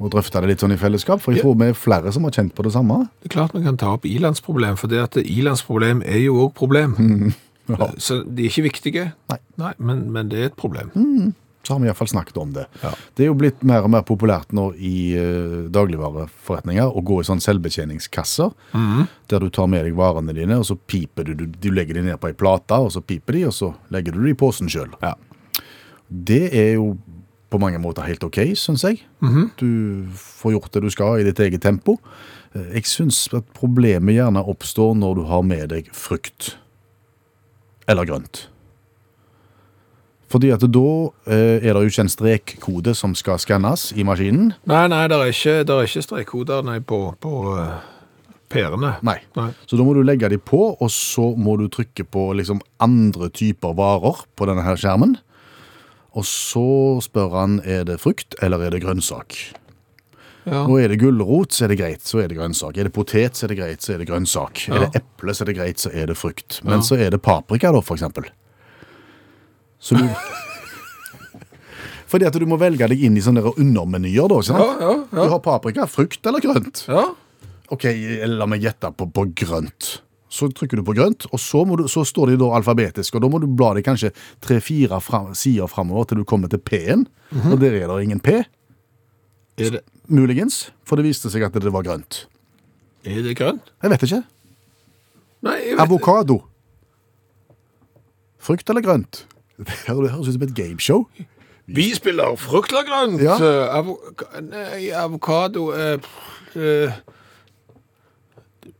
S3: Og drøfta det litt sånn i fellesskap? For jeg tror vi er flere som har kjent på det samme.
S2: Det er klart vi kan ta opp ilandsproblem, for det at ilandsproblem er jo òg [LAUGHS] problem.
S3: Ja.
S2: Så de er ikke viktige,
S3: Nei.
S2: men, men det er et problem.
S3: så har vi iallfall snakket om det.
S2: Ja.
S3: Det er jo blitt mer og mer populært nå i eh, dagligvareforretninger å gå i sånn selvbetjeningskasser,
S2: Mhm.
S3: der du tar med deg varene dine, og så piper du, du Du legger de ned på ei plate, og så piper de, og så legger du de i posen sjøl.
S2: Ja.
S3: Det er jo på mange måter helt OK, syns jeg.
S2: Mhm.
S3: Du får gjort det du skal i ditt eget tempo. Eh, Jeg syns at problemet gjerne oppstår når du har med deg frukt. Eller grønt. Fordi at da eh, er det jo ikke en strekkode som skal skannes i maskinen.
S2: Nei, nei, det er ikke, der er ikke strekkoder nei, på, på eh, pærene.
S3: Nei.
S2: Nei.
S3: Så da må du legge de på, og så må du trykke på liksom andre typer varer på denne her skjermen. Og så spør han er det frukt eller er det grønnsak.
S2: Ja.
S3: Og er det gulrot, så er det greit, så er det grønnsak. Er det potet, så er det greit, så er det grønnsak. Er det eple, så er det greit, så er det frukt. Men så er det paprika, da, for eksempel.
S2: [LAUGHS]
S3: Så du Fordi at du må velge deg inn i sånne der undermenyer, da. ikke sant?
S2: Ja, ja, ja.
S3: Du har paprika, frukt eller grønt.
S2: Ja,
S3: Ok, la meg gjette på, på grønt. Så trykker du på grønt, og så, må du, så står de da alfabetisk. Og da må du bla deg kanskje tre-fire fram, sider framover til du kommer til P-en.
S2: Mhm.
S3: Og der er det ingen P,
S2: er det,
S3: muligens, for det viste seg at det var grønt.
S2: er det grønt?
S3: Jeg vet ikke.
S2: Nei, jeg vet ikke.
S3: Avokado. Frukt eller grønt? [LAUGHS] Det her- det høres ut som et gameshow.
S2: Vi spiller frukt eller grønt.
S3: Ja.
S2: Eh, avo- nei, avokado eh, pff, eh,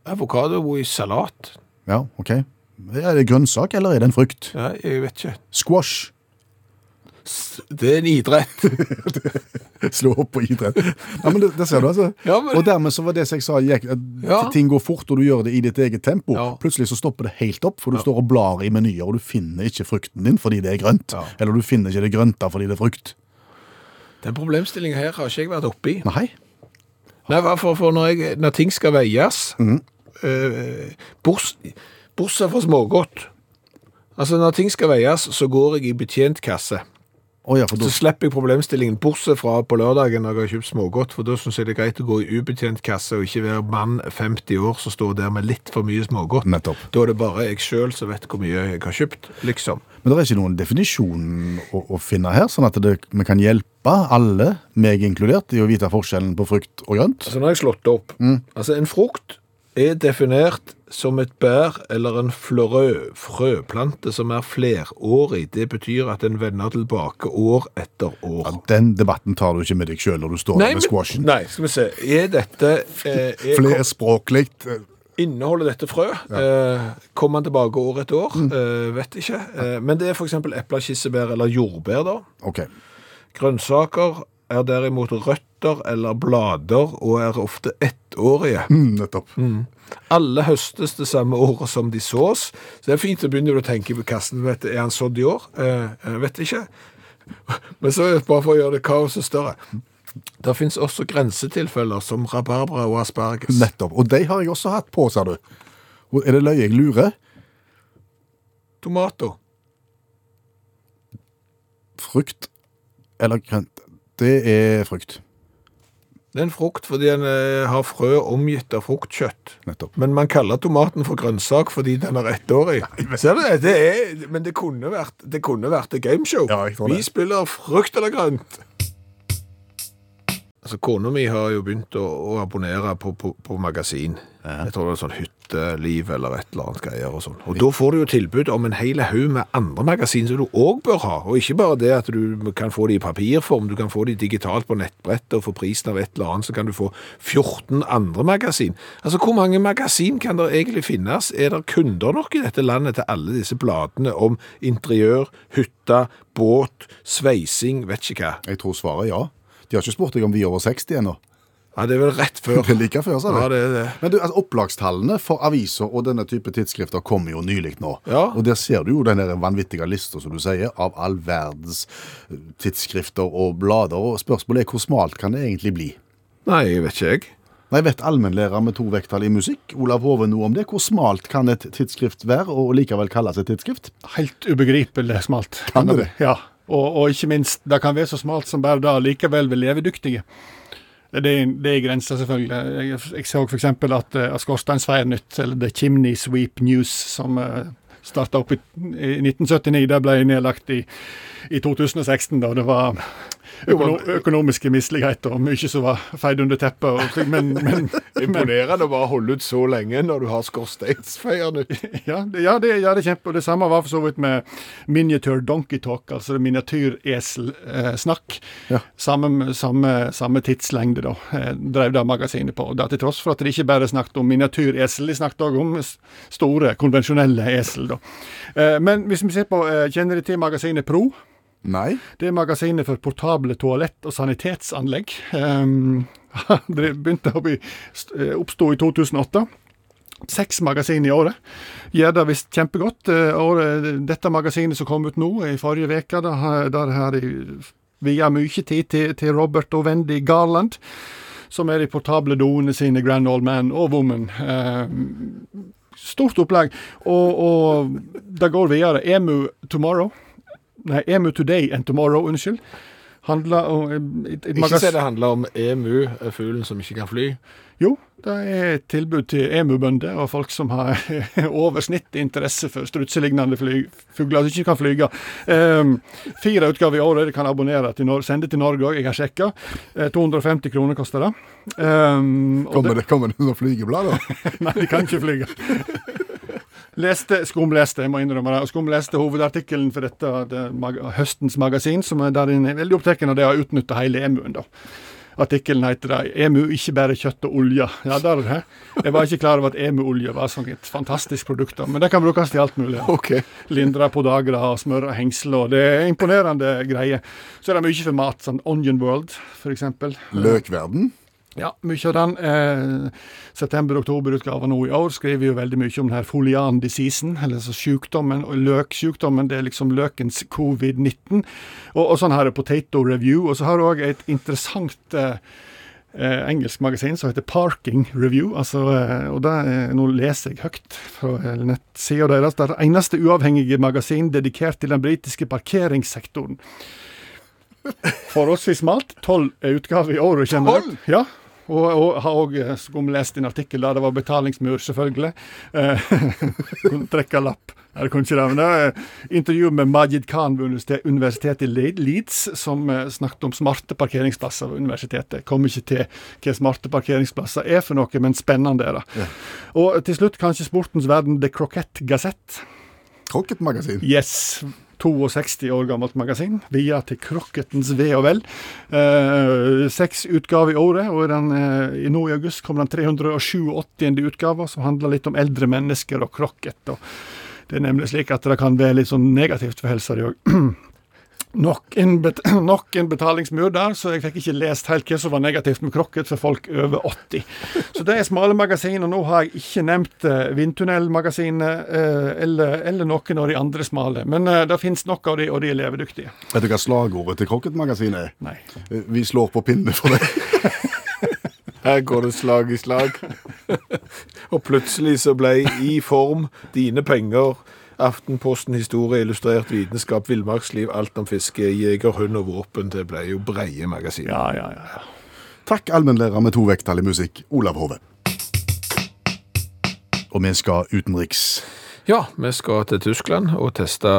S2: Avokado i salat?
S3: Ja, ok. Er det grønnsak, eller er det en frukt?
S2: Nei, jeg vet ikke.
S3: Squash. [LAUGHS]
S2: Det er en [LAUGHS] idrett.
S3: Slå opp på idrett. Ja, men det, det ser du, altså.
S2: [LAUGHS] Ja, men-
S3: Og dermed så var det som jeg sa, gikk, at
S2: Ja.
S3: ting går fort, og du gjør det i ditt eget tempo.
S2: Ja.
S3: Plutselig så stopper det helt opp, for du står og blar i menyer, og du finner ikke frukten din fordi det er grønt.
S2: Ja.
S3: Eller du finner ikke det grønte fordi det er frukt.
S2: Den problemstillingen her har ikke jeg vært oppi.
S3: Nei.
S2: Nei, hva for, for når, jeg, når ting skal veies, eh, bors- bortsett fra smågodt Altså, når ting skal veies, så går jeg i betjent kasse.
S3: Å ja, for da
S2: Så slipper jeg problemstillingen, bortsett fra på lørdagen når jeg har kjøpt smågodt, for da syns jeg det er greit å gå i ubetjent kasse og ikke være mann 50 år som står der med litt for mye smågodt.
S3: Nettopp.
S2: Da er det bare jeg sjøl som vet hvor mye jeg har kjøpt, liksom.
S3: Men det er ikke noen definisjon å, å finne her, sånn at det, vi kan hjelpe alle, meg inkludert, i å vite forskjellen på frukt og grønt.
S2: Altså, nå har jeg slått det opp.
S3: Mm.
S2: Altså, en frukt er definert som et bær eller en florø, frøplante som er flerårig. Det betyr at den vender tilbake år etter år.
S3: Ja, Den debatten tar du ikke med deg sjøl når du står der med squashen.
S2: nei, skal vi se. Er dette eh, er,
S3: Flerspråklig. eh,
S2: Inneholder dette frø? Eh, Kommer den tilbake år etter år? Eh, vet ikke. Eh, men det er f.eks. epler, kirsebær eller jordbær, da.
S3: OK.
S2: Grønnsaker er derimot røtter eller blader og er ofte ettårige.
S3: Mm, nettopp.
S2: Alle høstes det samme året som de sås. Så det er fint å begynne å tenke på kassen. Vet, du, er han sådd i år? Eh, eh, vet ikke. [LAUGHS] Men så, bare for å gjøre det kaoset større Det fins også grensetilfeller som rabarbra og asparges.
S3: Nettopp. Og de har jeg også hatt på, sa du. Og Er det løye jeg lurer?
S2: Tomato.
S3: Frukt eller grønt? Det er frukt.
S2: Det er en frukt fordi den eh, har frø omgitt av fruktkjøtt.
S3: Nettopp.
S2: Men man kaller tomaten for grønnsak fordi den er
S3: [LAUGHS]
S2: ettårig. Ser du det? det er, men det kunne vært det kunne vært et gameshow.
S3: Ja, jeg tror det.
S2: Vi spiller frukt eller grønt. Altså, Kona mi har jo begynt å, å abonnere på, på, på magasin. Jeg tror det er sånn hytte Uteliv eller et eller annet greier og sånn. Og da får du jo tilbud om en hel haug med andre magasin som du òg bør ha. Og ikke bare det at du kan få det i papirform, du kan få det digitalt på nettbrett, og for prisen av et eller annet så kan du få 14 andre magasin. Altså, hvor mange magasin kan det egentlig finnes? Er det kunder nok i dette landet til alle disse bladene om interiør, hytte, båt, sveising, vet ikke hva?
S3: Jeg tror svaret er ja. De har ikke spurt deg om vi er over 60 ennå.
S2: Ja, det er vel rett før.
S3: [LAUGHS] Det er like før, sa du.
S2: Ja, det er det.
S3: Men du, altså, opplagstallene for aviser og denne type tidsskrifter kommer jo nylig nå.
S2: Ja.
S3: Og der ser du jo den der vanvittige lista, som du sier, av all verdens eh, tidsskrifter og blader. Og spørsmålet er hvor smalt kan det egentlig bli?
S2: Nei, jeg vet ikke jeg.
S3: Nei, Vet allmennlærer med to vekttall i musikk, Olav Hove, noe om det? Hvor smalt kan et tidsskrift være, og likevel kalles et tidsskrift?
S5: Helt ubegripelig smalt.
S3: Kan det det?
S5: Ja, og, og ikke minst, det kan være så smalt som bare det, likevel vil levedyktige. Det er, det er grenser, selvfølgelig. Jeg, jeg så f.eks. at, eh, at Skorsteinsfeiernytt, eller The Chimney Sweep News, som starta opp i, i 1979, det ble nedlagt i, i 2016, da det var økono, økonomiske misligheter og mye som var feid under teppet. Og, slik, men, men,
S2: Imponerende å bare holde ut så lenge når du har skorsteinsfeier nytt.
S5: [LAUGHS] Ja, det, ja, det, ja, det er kjempe. Og det samme var for så vidt med miniature donkey talk, altså miniatyreselsnakk.
S3: Ja.
S5: Samme, samme, samme tidslengde, da, eh, drev det magasinet på. Da, til tross for at de ikke bare snakket om miniatyresel, de snakket òg om s- store, konvensjonelle esel, da. Eh, Men hvis vi ser på eh, Kjenner de til magasinet Pro?
S3: Nei.
S5: Det er magasinet for portable toalett- og sanitetsanlegg. Um, [LAUGHS] det begynte å bli, st- eh, oppstod i 2008. Seks magasin i året. Gjør det visst kjempegodt. Eh, året- Dette magasinet som kom ut nå, i forrige uke, der har der har de via mye tid til, til Robert og Wendy Garland, som er de portable doene sine, Grand Old Man og Woman. Um, stort opplegg. Og, og det går videre. Emu Tomorrow. Nei, EMU Today and Tomorrow, unnskyld. Handler om et, et
S2: Ikke
S5: magas-
S2: se det handler om emu, eh, fuglen som ikke kan fly.
S5: Jo, det er et tilbud til emu-bønder og folk som har [LAUGHS] over snitt interesse for strutselignende fly- fugler som ikke kan flyge. Ehm, fire utgaver i året. De kan abonnere til Nor sende til Norge òg, jeg har sjekka. Eh, 250 kroner koster det. Ehm, og
S3: Kommer det, kommer det noen
S2: [LAUGHS]
S3: flygeblad, da?
S5: [LAUGHS] Nei, de kan ikke flyge. Leste, skumleste, jeg må innrømme det. og Skumleste hovedartikkelen for dette det, mag høstens magasin, som er der inne er veldig opptatt av det å utnytte hele emuen. da. Artikkelen heter det 'Emu ikke bare kjøtt og olje'. Ja, der er det. Jeg var ikke klar over at emuolje var sånn et fantastisk produkt, da, men det kan brukes til alt mulig.
S3: Ok.
S5: Lindre på dager og smøre hengsel, og det er imponerende greier. Så er det mye for mat, sånn Onion World, f.eks.
S3: Løkverden?
S5: Ja, mye av den eh, september-oktober-utgava nå i år skriver jo veldig mye om den her folian diseasen, eller så sjukdommen, og løksjukdommen, det er liksom løkens covid-19. Og, og sånn her er Potato Review, og så har du òg et interessant eh, eh, engelsk magasin som heter Parking Review, altså, eh, og det er, nå leser jeg høyt fra eh, nettsida deres, det er det eneste uavhengige magasin dedikert til den britiske parkeringssektoren. Forholdsvis smalt, tolv utgaver i året, kjenner jeg. Ja, og, og har eh, òg lest en artikkel der det var betalingsmur, selvfølgelig. Eh, [LAUGHS] kunne trekke lapp. Nei, det kunne ikke det, men det er eh, intervju med Majid Khan ved universite- Universitetet i Le- Leeds, som eh, snakket om smarte parkeringsplasser ved universitetet. Kom ikke til hva smarte parkeringsplasser er for noe, men spennende er det. Og til slutt kanskje sportens verden The Croquette Gazette.
S3: Krokketmagasin?
S5: Yes. 62 år gammelt magasin, via til Krokkettens ve og vel. Eh, seks utgaver i året, og i den, eh, i nå i august kom den 387. utgava, som handler litt om eldre mennesker og krokket. Og det er nemlig slik at det kan være litt sånn negativt for helsa di òg. Nok en, bet [CLEARS THROAT] nok en betalingsmur der, så jeg fikk ikke lest helt hva som var negativt med krokket for folk over 80. Så det er smale magasin, og nå har jeg ikke nevnt eh, Vindtunnelmagasinet eh, eller, eller noen av de andre smale. Men eh, det fins nok av de, og de er levedyktige.
S3: Vet du hva slagordet til Krokketmagasinet er?
S5: Nei.
S3: Eh, Vi slår på pinne for det. [LAUGHS]
S2: Her går det slag i slag. og plutselig så ble i form dine penger Aftenposten, historie, illustrert vitenskap, villmarksliv, alt om fiske, jeger, hund og våpen. Det ble jo breie magasiner.
S5: Ja, ja, ja. ja.
S3: Takk, allmennlærer med to vekttall i musikk, Olav Hove. Og vi skal utenriks.
S2: Ja, vi skal til Tyskland og teste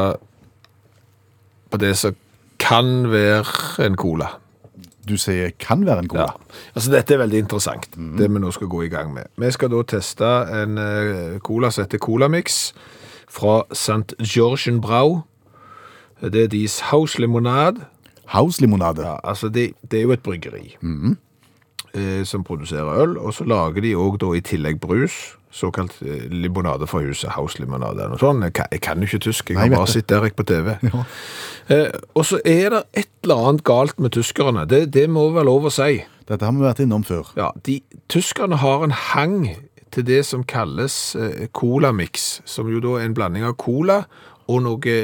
S2: på det som kan være en cola.
S3: du sier kan være en cola.
S2: Altså, dette er veldig interessant, det vi nå skal gå i gang med. Vi skal da teste en eh, cola som heter Colamix fra St. Georgian Brau. Det er deres House Limonade.
S3: House-limonade.
S2: Ja, altså, det, det er jo et bryggeri eh, som produserer øl, og så lager de òg da i tillegg brus. Såkalt eh, limonade fra huset, House-limonade eller noe sånt. Jeg kan, jeg kan jo ikke tysk, jeg
S3: Nei,
S2: har
S3: vet
S2: bare
S3: det.
S2: sett Derek på TV. Eh, og så er det et eller annet galt med tyskerne, det, det må være lov å si.
S3: Dette har vi vært innom før.
S2: Ja, de, tyskerne har en hang til det som kalles eh, cola-mix, som jo da er en blanding av cola og noe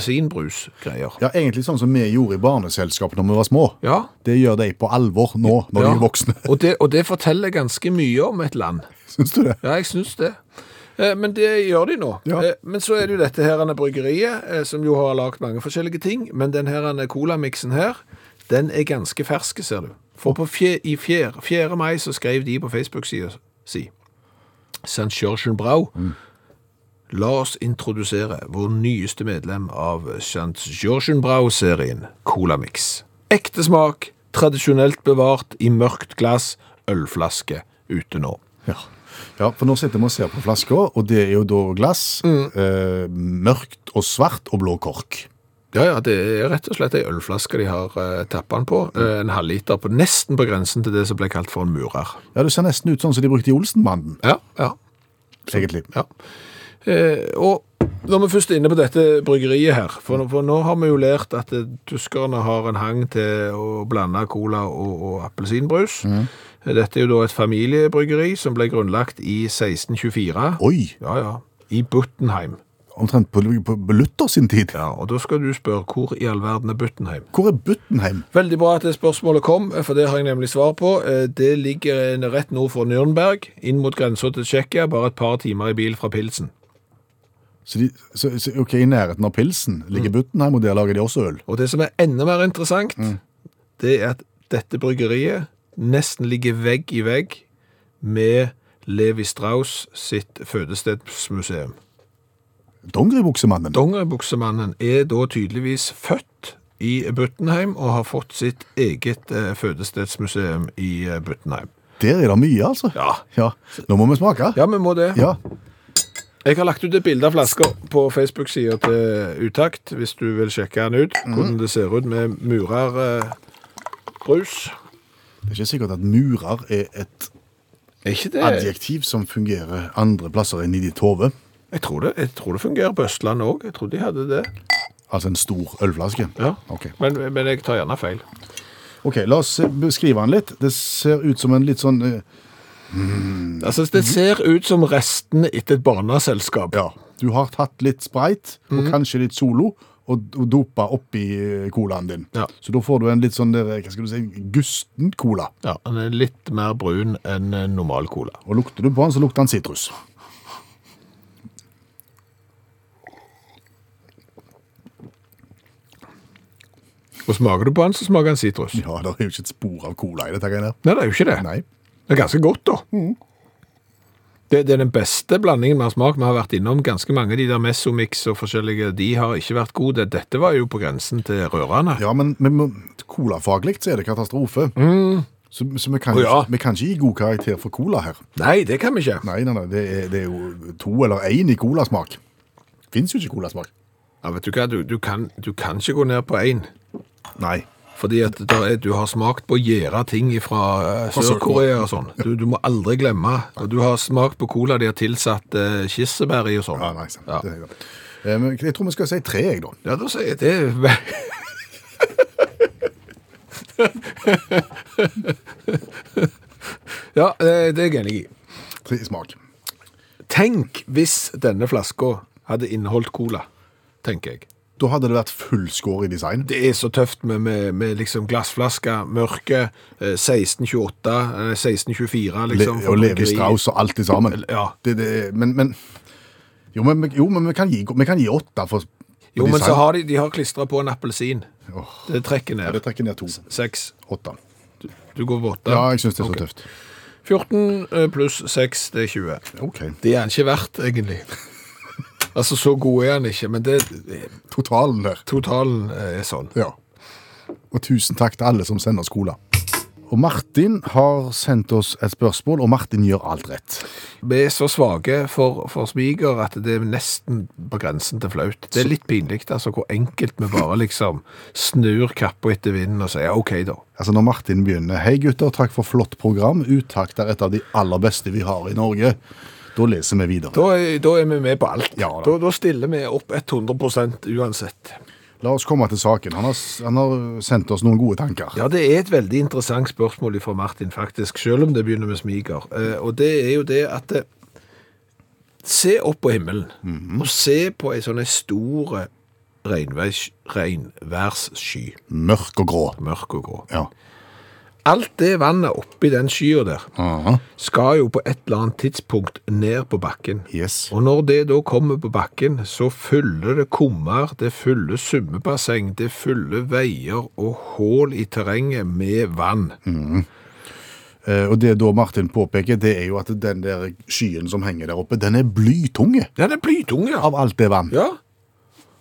S2: appelsinbrus-greier.
S3: Ja, Egentlig sånn som vi gjorde i barneselskapet når vi var små.
S2: Ja.
S3: Det gjør de på alvor nå, når de
S2: Ja.
S3: er voksne. [LAUGHS]
S2: og, det, og det forteller ganske mye om et land.
S3: Syns du det?
S2: Ja, jeg syns det. Eh, Men det gjør de nå.
S3: Ja.
S2: Eh, Men så er det jo dette her denne bryggeriet, eh, som jo har lagd mange forskjellige ting. Men den her denne colamiksen her, den er ganske ferske, ser du. For på fje, i fjer, 4. mai så skrev de på Facebook-sida si St. Georgian Brau. La oss introdusere vår nyeste medlem av St. Georgian Brau-serien, Colamix. Ekte smak, tradisjonelt bevart i mørkt glass, ølflaske ute nå.
S3: Ja. ja, for nå sitter vi og ser på flaska, og det er jo da glass.
S2: Mm.
S3: Eh, mørkt og svart og blå kork.
S2: Ja, ja, det er rett og slett ei ølflaske de har uh, tappa den på. eh, en halvliter på nesten på grensen til det som ble kalt for en murer.
S3: Ja, Det ser nesten ut sånn som de brukte i Olsenbanden,
S2: Ja, ja.
S3: egentlig.
S2: ja. Eh, og når vi først er inne på dette bryggeriet her, for nå, for nå har vi jo lært at eh, tyskerne har en hang til å blande cola og, og appelsinbrus. Dette er jo da et familiebryggeri som ble grunnlagt i 1624.
S3: Oi!
S2: Ja, ja. I Buttenheim.
S3: Omtrent på, på, på Luther sin tid.
S2: Ja, og da skal du spørre hvor i all verden er Buttenheim?
S3: Hvor er Buttenheim?
S2: Veldig bra at det spørsmålet kom, for det har jeg nemlig svar på. Eh, Det ligger en rett nord for Nürnberg, inn mot grensa til Tsjekkia, bare et par timer i bil fra Pilsen.
S3: Så de, så, så, ok, I nærheten av pilsen
S2: Mm.
S3: ligger Buttenheim, og der lager de også øl.
S2: Og det som er enda mer interessant, det er at dette bryggeriet nesten ligger vegg i vegg med Levi Strauss sitt fødestedsmuseum.
S3: Dongeribukse-mannen.
S2: Dongerbuksemannen er da tydeligvis født i Buttenheim og har fått sitt eget eh, fødestedsmuseum i eh, Buttenheim.
S3: Der er det mye, altså.
S2: Ja.
S3: Nå må vi smake.
S2: Ja, vi må det.
S3: Ja.
S2: Jeg har lagt ut et bilde av flaska på Facebook-sida til Utakt, hvis du vil sjekke den ut. Hvordan det ser ut med murer eh, brus.
S3: Det er ikke sikkert at murer er et
S2: Er ikke det
S3: adjektiv som fungerer andre plasser enn i ditt hode.
S2: jeg tror det, jeg tror det fungerer på Østlandet òg. Jeg tror de hadde det.
S3: Altså en stor ølflaske.
S2: Ja.
S3: Ok.
S2: Men, men jeg tar gjerne feil.
S3: Ok, la oss eh, beskrive den litt. Det ser ut som en litt sånn eh,
S2: Altså, Det ser ut som restene etter et barneselskap.
S3: Ja, du har tatt litt sprite og
S2: Mhm.
S3: kanskje litt solo og, og dopa oppi eh, colaen din.
S2: Ja.
S3: Så da får du en litt sånn der, hva skal du si, gusten cola.
S2: Ja, Den er litt mer brun enn eh, normal cola.
S3: Og lukter du på den, så lukter den sitrus.
S2: Og smaker du på den, så smaker den sitrus.
S3: Ja, det er jo ikke et spor av cola i dette greiene her.
S2: Nei, det er jo ikke det.
S3: Nei. Mm.
S2: Det er ganske godt, da. Det, det er den beste blandingen vi har smakt. Vi har vært innom ganske mange av de der Mesomix og forskjellige. De har ikke vært gode. Dette var jo på grensen til rørende.
S3: Ja, men, men men colafaglig så er det katastrofe. Så, så vi, kan,
S2: Mm. Å, ja.
S3: vi kan ikke gi god karakter for cola her.
S2: Nei, det kan vi ikke.
S3: Nei, nei, nei, det er, det er jo to eller én i colasmak. Fins jo ikke colasmak.
S2: Ja, vet du hva, du, du, kan, du kan ikke gå ned på én.
S3: Nei.
S2: Fordi at der er, du har smakt på gjæra ting fra eh,
S3: Fra Sør-Korea.
S2: Sør-Korea og sånn. Du, du må aldri glemme. Og du har smakt på cola de har tilsatt eh, kirsebær i og sånn.
S3: Ja, nei, sant.
S2: Ja.
S3: Det er greit. Eh, men Jeg tror vi skal si tre, jeg, da.
S2: Ja, da sier jeg det. [LAUGHS] ja, eh, det er jeg enig i.
S3: Tre smak.
S2: Tenk hvis denne flaska hadde inneholdt cola, tenker jeg.
S3: Da hadde det vært full score i design.
S2: Det er så tøft med, med, med liksom glassflaske, mørke, eh, 1628, eh, 1624
S3: Le
S2: liksom. for
S3: og Levi
S2: bryggeri.
S3: Strauss og alt det sammen.
S2: Ja.
S3: Det, det, men, men jo, men, jo, men vi kan gi, vi kan gi åtte for
S2: Jo, men så har de, de har klistra på en appelsin.
S3: Åh,
S2: Det trekker
S3: ja, det
S2: ned.
S3: trekker ned to.
S2: Seks.
S3: Åtte.
S2: Du går på åtte.
S3: Ja, jeg syns det er så
S2: Ok.
S3: tøft.
S2: 14 pluss 6, det er 20.
S3: OK.
S2: Det er han ikke verdt, egentlig. [LAUGHS] altså, så god er han ikke, men det,
S3: Totalen der.
S2: totalen er eh, sånn.
S3: Ja. Og tusen takk til alle som sender oss cola. Og Martin har sendt oss et spørsmål, og Martin gjør alt rett.
S2: Vi er så svake for, for smiger at det er nesten på grensen til flaut. Det er litt pinlig, altså, hvor enkelt vi bare liksom snur kappa etter vinden og sier OK, da.
S3: Altså Når Martin begynner 'Hei gutter, takk for flott program', utakt er et av de aller beste vi har i Norge. Da leser vi videre.
S2: Da er, da er vi med på alt.
S3: Ja, da.
S2: da. Da, stiller vi opp 100 uansett.
S3: La oss komme til saken. Han har, s- han har sendt oss noen gode tanker.
S2: Ja, det er et veldig interessant spørsmål fra Martin, faktisk, selv om det begynner med smiger. Eh, Og det er jo det at eh, Se opp på himmelen, og se på ei sånn ei stor regnværs- regnværssky.
S3: Mørk og grå.
S2: Mørk og grå.
S3: Ja.
S2: Alt det vannet oppi den skya der
S3: Aha.
S2: skal jo på et eller annet tidspunkt ned på bakken.
S3: Yes.
S2: Og når det da kommer på bakken, så fyller det kummer, det fyller svømmebasseng, det fyller veier og hull i terrenget med vann.
S3: Eh, og det da Martin påpeker, det er jo at den der skyen som henger der oppe, den er blytunge
S2: Ja, det er blytunge, ja.
S3: av alt det vann.
S2: ja.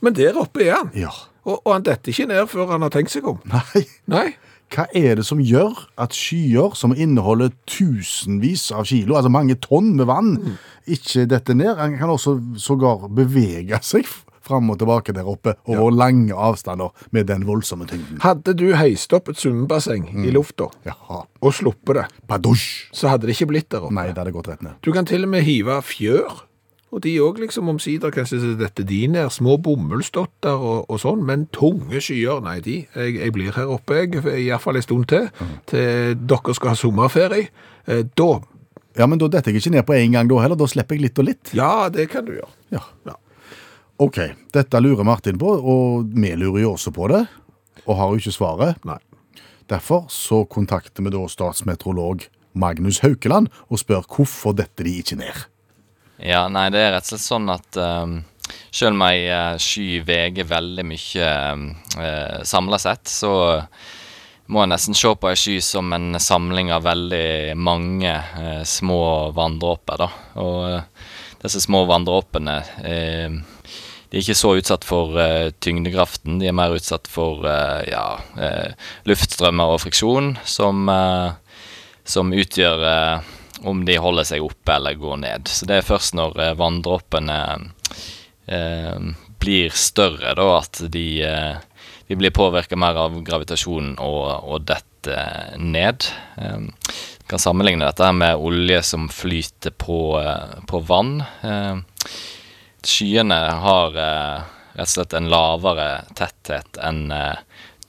S2: Men der oppe er han.
S3: Ja.
S2: Og, og han detter ikke ned før han har tenkt seg om.
S3: Nei.
S2: Nei.
S3: Hva er det som gjør at skyer som inneholder tusenvis av kilo, altså mange tonn med vann, ikke detter ned? Han kan også sågar bevege seg f- fram og tilbake der oppe over lange avstander med den voldsomme tyngden.
S2: Hadde du heist opp et svømmebasseng
S3: Mm.
S2: i lufta
S3: Jaha.
S2: og sluppet det,
S3: Badusj!
S2: så hadde det ikke blitt der oppe.
S3: Nei, det hadde gått rett ned.
S2: Du kan til og med hive fjør, og de òg liksom omsider kanskje så dette de ned. Små bomullsdotter og, og sånn, men tunge skyer. Nei, de. Jeg, jeg blir her oppe, jeg, iallfall en stund til,
S3: Mm.
S2: til dere skal ha sommerferie. Eh, da
S3: Ja, men da detter jeg ikke ned på en gang da heller. Da slipper jeg litt og litt.
S2: Ja, det kan du gjøre.
S3: Ja.
S2: Ja.
S3: Ok, dette lurer Martin på, og vi lurer jo også på det, og har jo ikke svaret.
S2: Nei.
S3: Derfor så kontakter vi da statsmeteorolog Magnus Haukeland og spør hvorfor detter de ikke ned.
S6: Ja, nei, det er rett og slett sånn at um, selv om ei eh, sky veger veldig mye um, eh, samla sett, så må en nesten se på ei sky som en samling av veldig mange eh, små vanndråper, da. Og eh, disse små vanndråpene eh, de er ikke så utsatt for eh, tyngdekraften, de er mer utsatt for eh, ja, eh, luftstrømmer og friksjon, som eh, som utgjør eh, om de holder seg oppe eller går ned. Så det er først når eh, vanndråpene eh, blir større, da, at de, eh, de blir påvirka mer av gravitasjonen og, og detter ned. Eh, kan sammenligne dette her med olje som flyter på, eh, på vann. Eh, skyene har eh, rett og slett en lavere tetthet enn eh,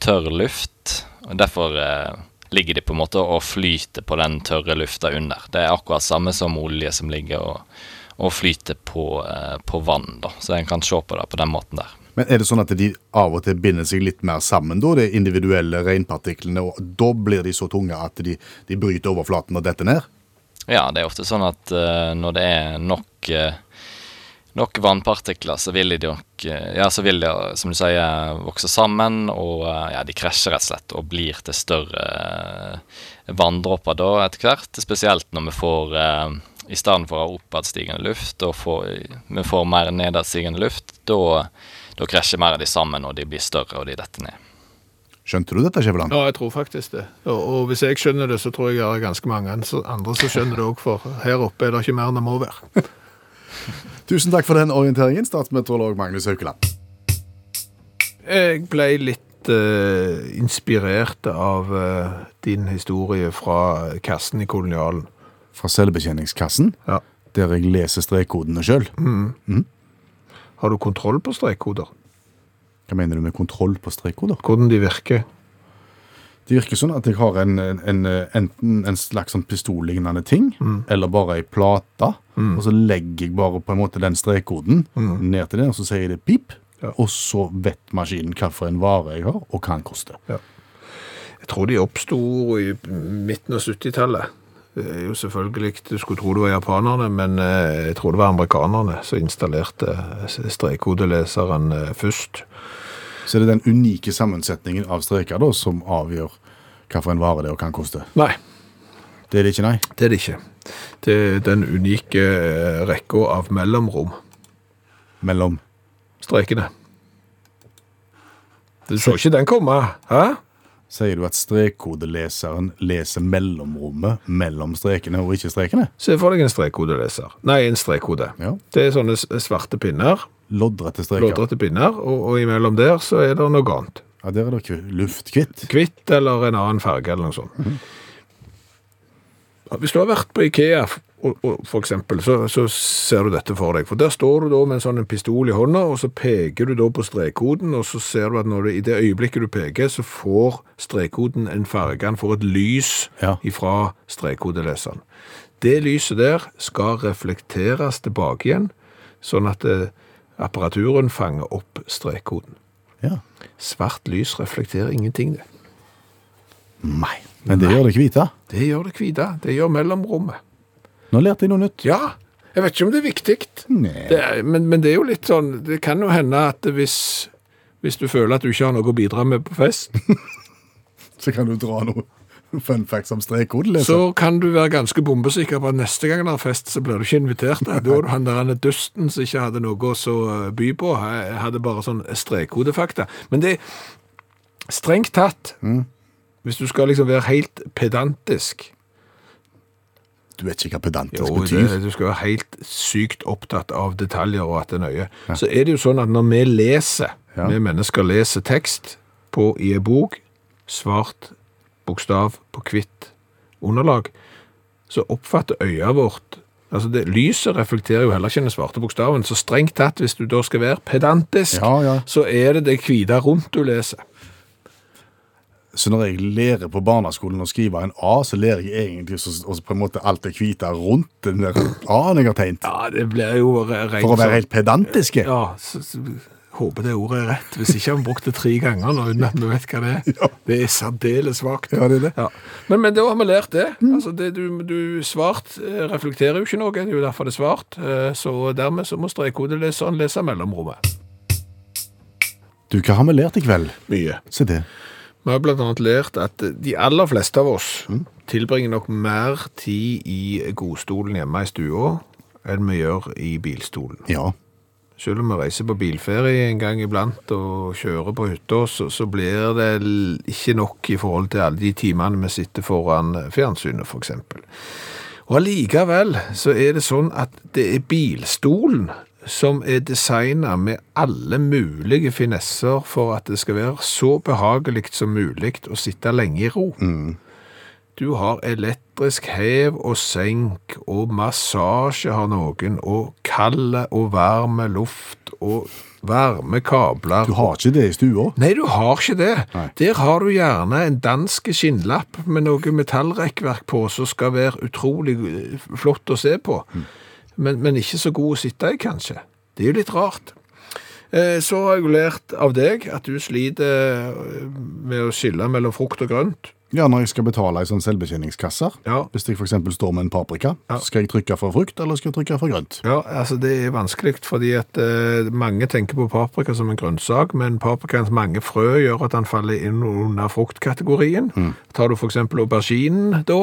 S6: tørr luft. og Derfor eh, ligger de på en måte og flyter på den tørre lufta under. Det er akkurat samme som olje som ligger og, og flyter på, eh, på vann. Da. Så en kan se på det på den måten der.
S3: Men er det sånn at de av og til binder seg litt mer sammen da, de individuelle regnpartiklene, og da blir de så tunge at de, de bryter overflaten og detter ned?
S6: Ja, det er ofte sånn at eh, når det er nok eh, Nok vannpartikler, så vil de nok eh, Ja, så vil de, som du sier, vokse sammen, og eh, ja, de krasjer rett og slett og blir til større eh, vanndråper da etter hvert. Spesielt når vi får eh, I stedet for å ha oppadstigende luft, og får, vi får mer nedadstigende luft, da da krasjer mer av de sammen, og de blir større, og de detter ned.
S3: Skjønte du dette, Skjæveland?
S2: Ja, jeg tror faktisk det. Og, og hvis jeg skjønner det, så tror jeg det er ganske mange ans- andre som skjønner det òg, for her oppe er det ikke mer enn det må være.
S3: Tusen takk for den orienteringen, statsmeteorolog Magnus Haukeland.
S2: Jeg ble litt eh, inspirert av eh, din historie fra kassen i kolonialen.
S3: Fra selvbetjeningskassen,
S2: Ja.
S3: der jeg leser strekkodene sjøl.
S2: Har du kontroll på strekkoder?
S3: Hva mener du med kontroll på strekkoder?
S2: Hvordan de virker?
S3: Det virker sånn at jeg har en, en, en, enten en slags sånn pistollignende ting, eller bare ei plate,
S2: Mm.
S3: og så legger jeg bare på en måte den strekkoden ned til den, og så sier det pip,
S2: Ja.
S3: og så vet maskinen hva for en vare jeg har, og hva den koster.
S2: Jeg tror de oppsto i midten av 70-tallet. Det er jo selvfølgelig, Du skulle tro det var japanerne, men eh, jeg tror det var amerikanerne som installerte eh, strekkodeleseren eh, først.
S3: Så det er den unike sammensetningen av streker da, som avgjør hva for en vare det er, og hva den koster.
S2: Nei,
S3: Det er det ikke, nei.
S2: det er det ikke. Det er den unike eh, rekka av mellomrom.
S3: Mellom
S2: Strekene. Du så ikke den komme, hæ?
S3: sier du at strekkodeleseren leser mellomrommet mellom strekene og ikke strekene.
S2: Se for deg en strekkodeleser. Nei, en strekkode.
S3: Ja.
S2: Det er sånne s- svarte pinner,
S3: Loddrette streker.
S2: blådrette pinner, og, og imellom der så er det noe annet.
S3: Ja, Der er det ikke luftkvitt.
S2: Kvitt eller en annen farge eller noe sånt. Ja, Hvis du har vært på Ikea, f- og, og, for eksempel, så, så ser du dette for deg. For der står du da med en sånn en pistol i hånda, og så peker du da på strekkoden, og så ser du at når du, i det øyeblikket du peker, så får strekkoden en farge, han får et lys
S3: Ja.
S2: ifra strekkodeleseren. Det lyset der skal reflekteres tilbake igjen, sånn at eh, apparaturen fanger opp strekkoden.
S3: Ja.
S2: Svart lys reflekterer ingenting, det.
S3: Nei, men det gjør det ikke hvite.
S2: Det gjør det hvite. Det gjør mellomrommet.
S3: Nå lærte jeg noe nytt.
S2: Ja. Jeg vet ikke om det er viktig.
S3: Nei.
S2: Det er, men, men det er jo litt sånn Det kan jo hende at hvis, hvis du føler at du ikke har noe å bidra med på fest,
S3: Så kan du dra noe fun facts om strekkodeleser.
S2: så kan du være ganske bombesikker på at neste gang det er fest, så blir du ikke invitert. Da er du han der han er dusten som ikke hadde noe å så eh, by på. Jeg hadde bare sånn strekhodefakta. Men det Strengt tatt, hvis du skal liksom være helt pedantisk
S3: Du vet ikke hva pedantisk
S2: Jo,
S3: betyr.
S2: det, du skal være helt sykt opptatt av detaljer og at det er nøye. Så er det jo sånn at når vi leser,
S3: Ja.
S2: vi mennesker leser tekst på, i en bok, svart bokstav på hvitt underlag, så oppfatter øya vårt Altså, det, lyset reflekterer jo heller ikke den svarte bokstaven, så strengt tatt, hvis du da skal være pedantisk,
S3: Ja, ja.
S2: så er det det hvite rundt du leser.
S3: Så når jeg lærer på barneskolen å skrive en A, så lærer jeg egentlig så, også på en måte alt det hvite rundt den der A-en jeg har tegnet.
S2: Ja, det blir jo re- rent
S3: For å
S2: sånn-
S3: være helt pedantiske.
S2: Ja, så, så, håper det ordet er rett. Hvis ikke har vi brukt det tre ganger nå, uten at vi vet hva det er. Det er særdeles svakt.
S3: Ja, det er det. Mm.
S2: Ja. Men, men da har vi lært det. Altså, det du, du svart eh, reflekterer jo ikke noe, det er jo derfor det er svart. Eh, Så dermed så må strekkodeleseren lese mellomrommet.
S3: Du, hva har vi lært i kveld?
S2: Mye.
S3: Se det.
S2: Vi har blant annet lært at de aller fleste av oss
S3: Mm.
S2: tilbringer nok mer tid i godstolen hjemme i stua enn vi gjør i bilstolen.
S3: Ja.
S2: Selv om vi reiser på bilferie en gang iblant og kjører på hytta, så, så blir det l- ikke nok i forhold til alle de timene vi sitter foran fjernsynet, for eksempel. Og allikevel så er det sånn at det er bilstolen som er designet med alle mulige finesser for at det skal være så behagelig som mulig å sitte lenge i ro.
S3: Mm.
S2: Du har elektrisk hev og senk, og massasje har noen, og kalde og varme luft, og varme kabler.
S3: Du har ikke det i stua?
S2: Nei, du har ikke det.
S3: Nei.
S2: Der har du gjerne en dansk skinnlapp med noe metallrekkverk på, som skal være utrolig eh, flott å se på, men, men ikke så god å sitte i, kanskje. Det er jo litt rart. Eh, Så har jeg lært av deg at du sliter eh, med å skille mellom frukt og grønt.
S3: Ja, når jeg skal betale i sånn selvbetjeningskasser.
S2: Ja.
S3: Hvis jeg f.eks. står med en paprika,
S2: Ja.
S3: så skal jeg trykke for frukt eller skal jeg trykke for grønt?
S2: Ja, altså det er vanskelig, fordi at eh, mange tenker på paprika som en grønnsak, men paprikans mange frø gjør at den faller inn under fruktkategorien. Tar du for eksempel auberginen da,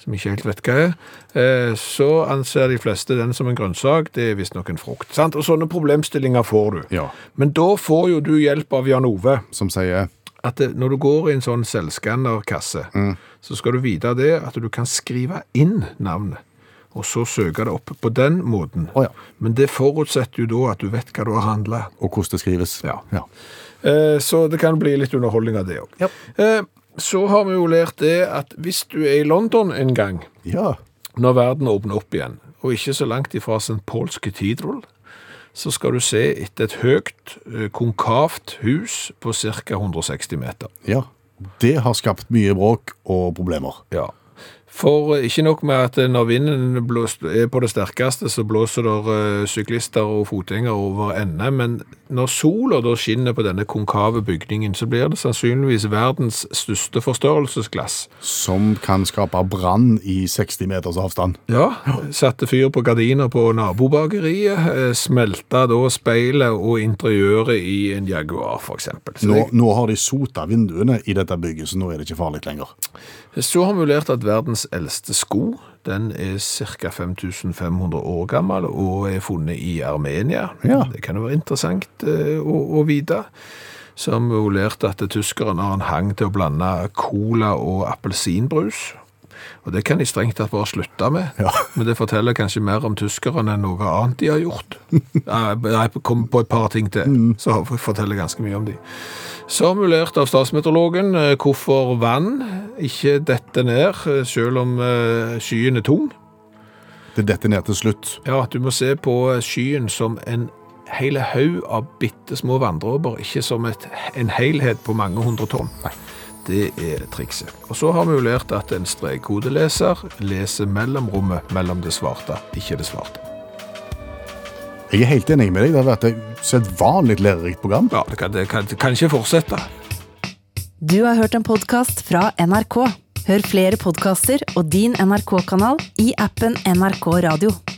S2: som ikke helt vet hva er, eh, så anser de fleste den som en grønnsak, det er visst nok en frukt. Sant? Og sånne problemstillinger får du.
S3: Ja.
S2: Men da får jo du hjelp av Jan Ove
S3: Som sier
S2: at det, når du går i en sånn selvskannerkasse,
S3: Mm.
S2: så skal du vite det at du kan skrive inn navnet, og så søke det opp på den måten.
S3: Å ja.
S2: Men det forutsetter jo da at du vet hva du har handla.
S3: Og hvordan det skrives.
S2: Ja.
S3: ja.
S2: Eh, så det kan bli litt underholdning av det òg. Eh, så har vi jo lært det at hvis du er i London en gang,
S3: Ja.
S2: når verden åpner opp igjen, og ikke så langt ifra St. Paul's Cathedral, så skal du se etter et høyt, eh, konkavt hus på ca. 160 meter.
S3: ja. Det har skapt mye bråk og problemer.
S2: Ja. For eh, ikke nok med at eh, når vinden blås- er på det sterkeste, så blåser der eh, syklister og fotgjengere over ende, men når sola da skinner på denne konkave bygningen, så blir det sannsynligvis verdens største forstørrelsesglass.
S3: Som kan skape brann i 60 meters avstand.
S2: Ja, satte fyr på gardiner på nabobakeriet, eh, smelta da speilet og interiøret i en Jaguar, for eksempel. Så
S3: Nå,
S2: det-
S3: nå har de sota vinduene i dette bygget, så nå er det ikke farlig lenger.
S2: Så har vi lært at verdens eldste sko, den er ca. 5500 år gammel og er funnet i Armenia.
S3: Ja.
S2: Det kan jo være interessant eh, å, å vite. som hun lærte at tyskerne har en hang til å blande cola og appelsinbrus. Og det kan de strengt tatt bare slutte med, men det forteller kanskje mer om tyskerne enn noe annet de har gjort. Jeg kom på et par ting til, så forteller ganske mye om de. Samulert av statsmeteorologen eh, hvorfor vann ikke detter ned, eh, selv om eh, skyen er tung.
S3: Det detter ned til slutt.
S2: Ja, at du må se på skyen som en hele haug av bitte små vanndråper, ikke som et, en helhet på mange hundre tonn. Det er trikset. Og så har vi jo lært at en strekkodeleser leser mellomrommet mellom det svarte, ikke det svarte.
S3: Jeg er helt enig med deg. Det har vært et sedvanlig lærerikt program.
S2: Ja, det kan, det kan, det kan ikke fortsette.
S1: Du har hørt en podkast fra NRK. Hør flere podkaster og din NRK-kanal i appen NRK Radio.